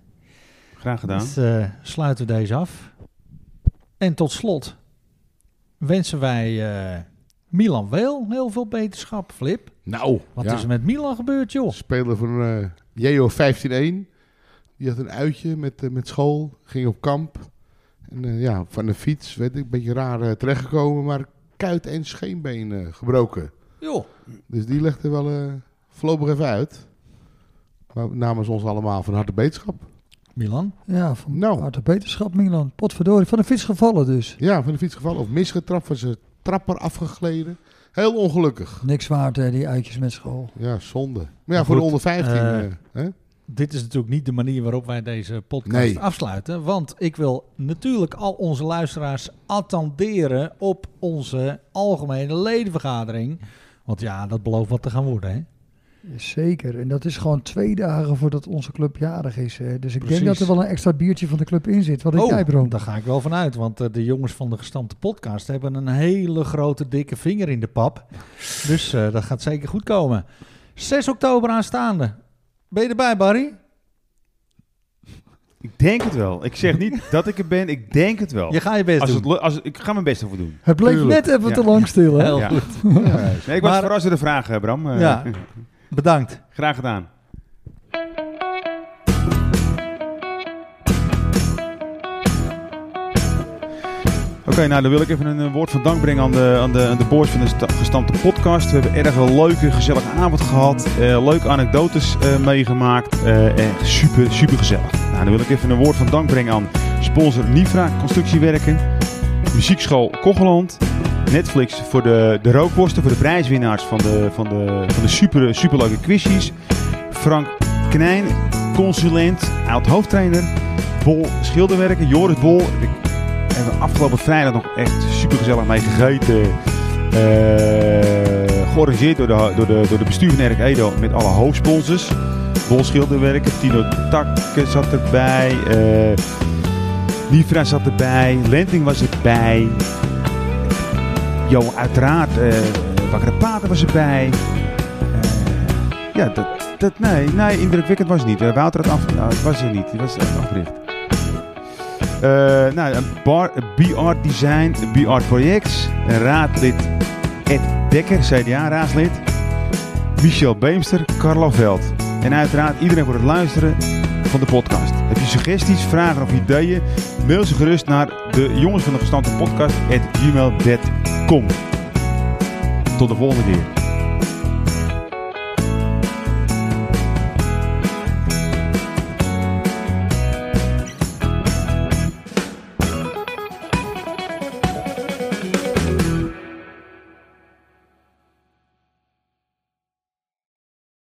graag gedaan. Dus eh, sluiten we deze af. En tot slot wensen wij eh, Milan wel heel veel beterschap. Flip, Nou. wat ja. is er met Milan gebeurd, joh? Speler van eh JO 15-1. Die had een uitje met, eh, met school. Ging op kamp. En eh, ja, van de fiets, weet ik, een beetje raar eh, terechtgekomen. Maar kuit en scheenbeen eh, gebroken. Joh, Dus die legt er wel eh, voorlopig even uit. Maar namens ons allemaal van harte beterschap. Milan. Ja, van Nou. harte beterschap Milan. Potverdorie, van de fiets gevallen dus. Ja, van de fiets gevallen of misgetrapt. Van zijn trapper afgegleden. Heel ongelukkig. Niks waard hè, die uitjes met school. Ja, zonde. Maar ja, Maar voor de goed, onder 15. eh, eh, hè? Dit is natuurlijk niet de manier waarop wij deze podcast Nee. afsluiten. Want ik wil natuurlijk al onze luisteraars attenderen op onze algemene ledenvergadering. Want ja, dat belooft wat te gaan worden, hè? Zeker, en dat is gewoon twee dagen voordat onze club jarig is. Hè. Dus ik Precies. denk dat er wel een extra biertje van de club in zit. Wat denk jij, Bro? Oh, daar ga ik wel van uit. Want eh, de jongens van de gestampte podcast hebben een hele grote dikke vinger in de pap. Dus eh, dat gaat zeker goed komen. 6 oktober aanstaande. Ben je erbij, Barry? Ik denk het wel. Ik zeg niet dat ik er ben. Ik denk het wel. Je gaat je best Oh. als het, doen. lu- als het- ik ga mijn best ervoor doen. Het bleef Tuurlijk. net even Ja. te lang stil, hè? Heel Ja. goed. Nee, ik was Maar- verrast door de vraag, eh, Bram. Eh, Ja. Bedankt. Graag gedaan. Oké, nou dan wil ik even een eh, woord van dank brengen aan de, aan de, aan de boys van de sta- gestampte podcast. We hebben erg een leuke, gezellige avond gehad. Eh, leuke anekdotes eh, meegemaakt. eh, en super, super gezellig. Nou, dan wil ik even een woord van dank brengen aan sponsor Nifra Constructiewerken. Muziekschool Kogeland. Netflix voor de, de rookworsten, voor de prijswinnaars van de, van de, van de super, superleuke quizjes. Frank Knijn, consulent, oud-hoofdtrainer. Bol Schilderwerken, Joris Bol. Ik heb er afgelopen vrijdag nog echt supergezellig mee gegeten. Eh, georganiseerd door de, door, de, door de bestuur van Erk Edo met alle hoofdsponsors. Bol Schilderwerken, Tino Takke zat erbij. eh Nifra zat erbij. Lenting was erbij. Jo, uiteraard. eh Wakkere Pater was erbij. Eh, ja, dat, dat, nee, nee, indrukwekkend was het niet. Eh, Wouter had af, nou, het was er niet. Die was eh, afgericht. Eh, nou, een bar, een BR Design, een BR Projects, een raadlid Ed Dekker, CDA-raadslid, Michel Beemster, Carlo Veld. En uiteraard iedereen voor het luisteren van de podcast. Heb je suggesties, vragen of ideeën? Mail ze gerust naar de jongens van de gestante podcast at gmail.com. Tot de volgende keer.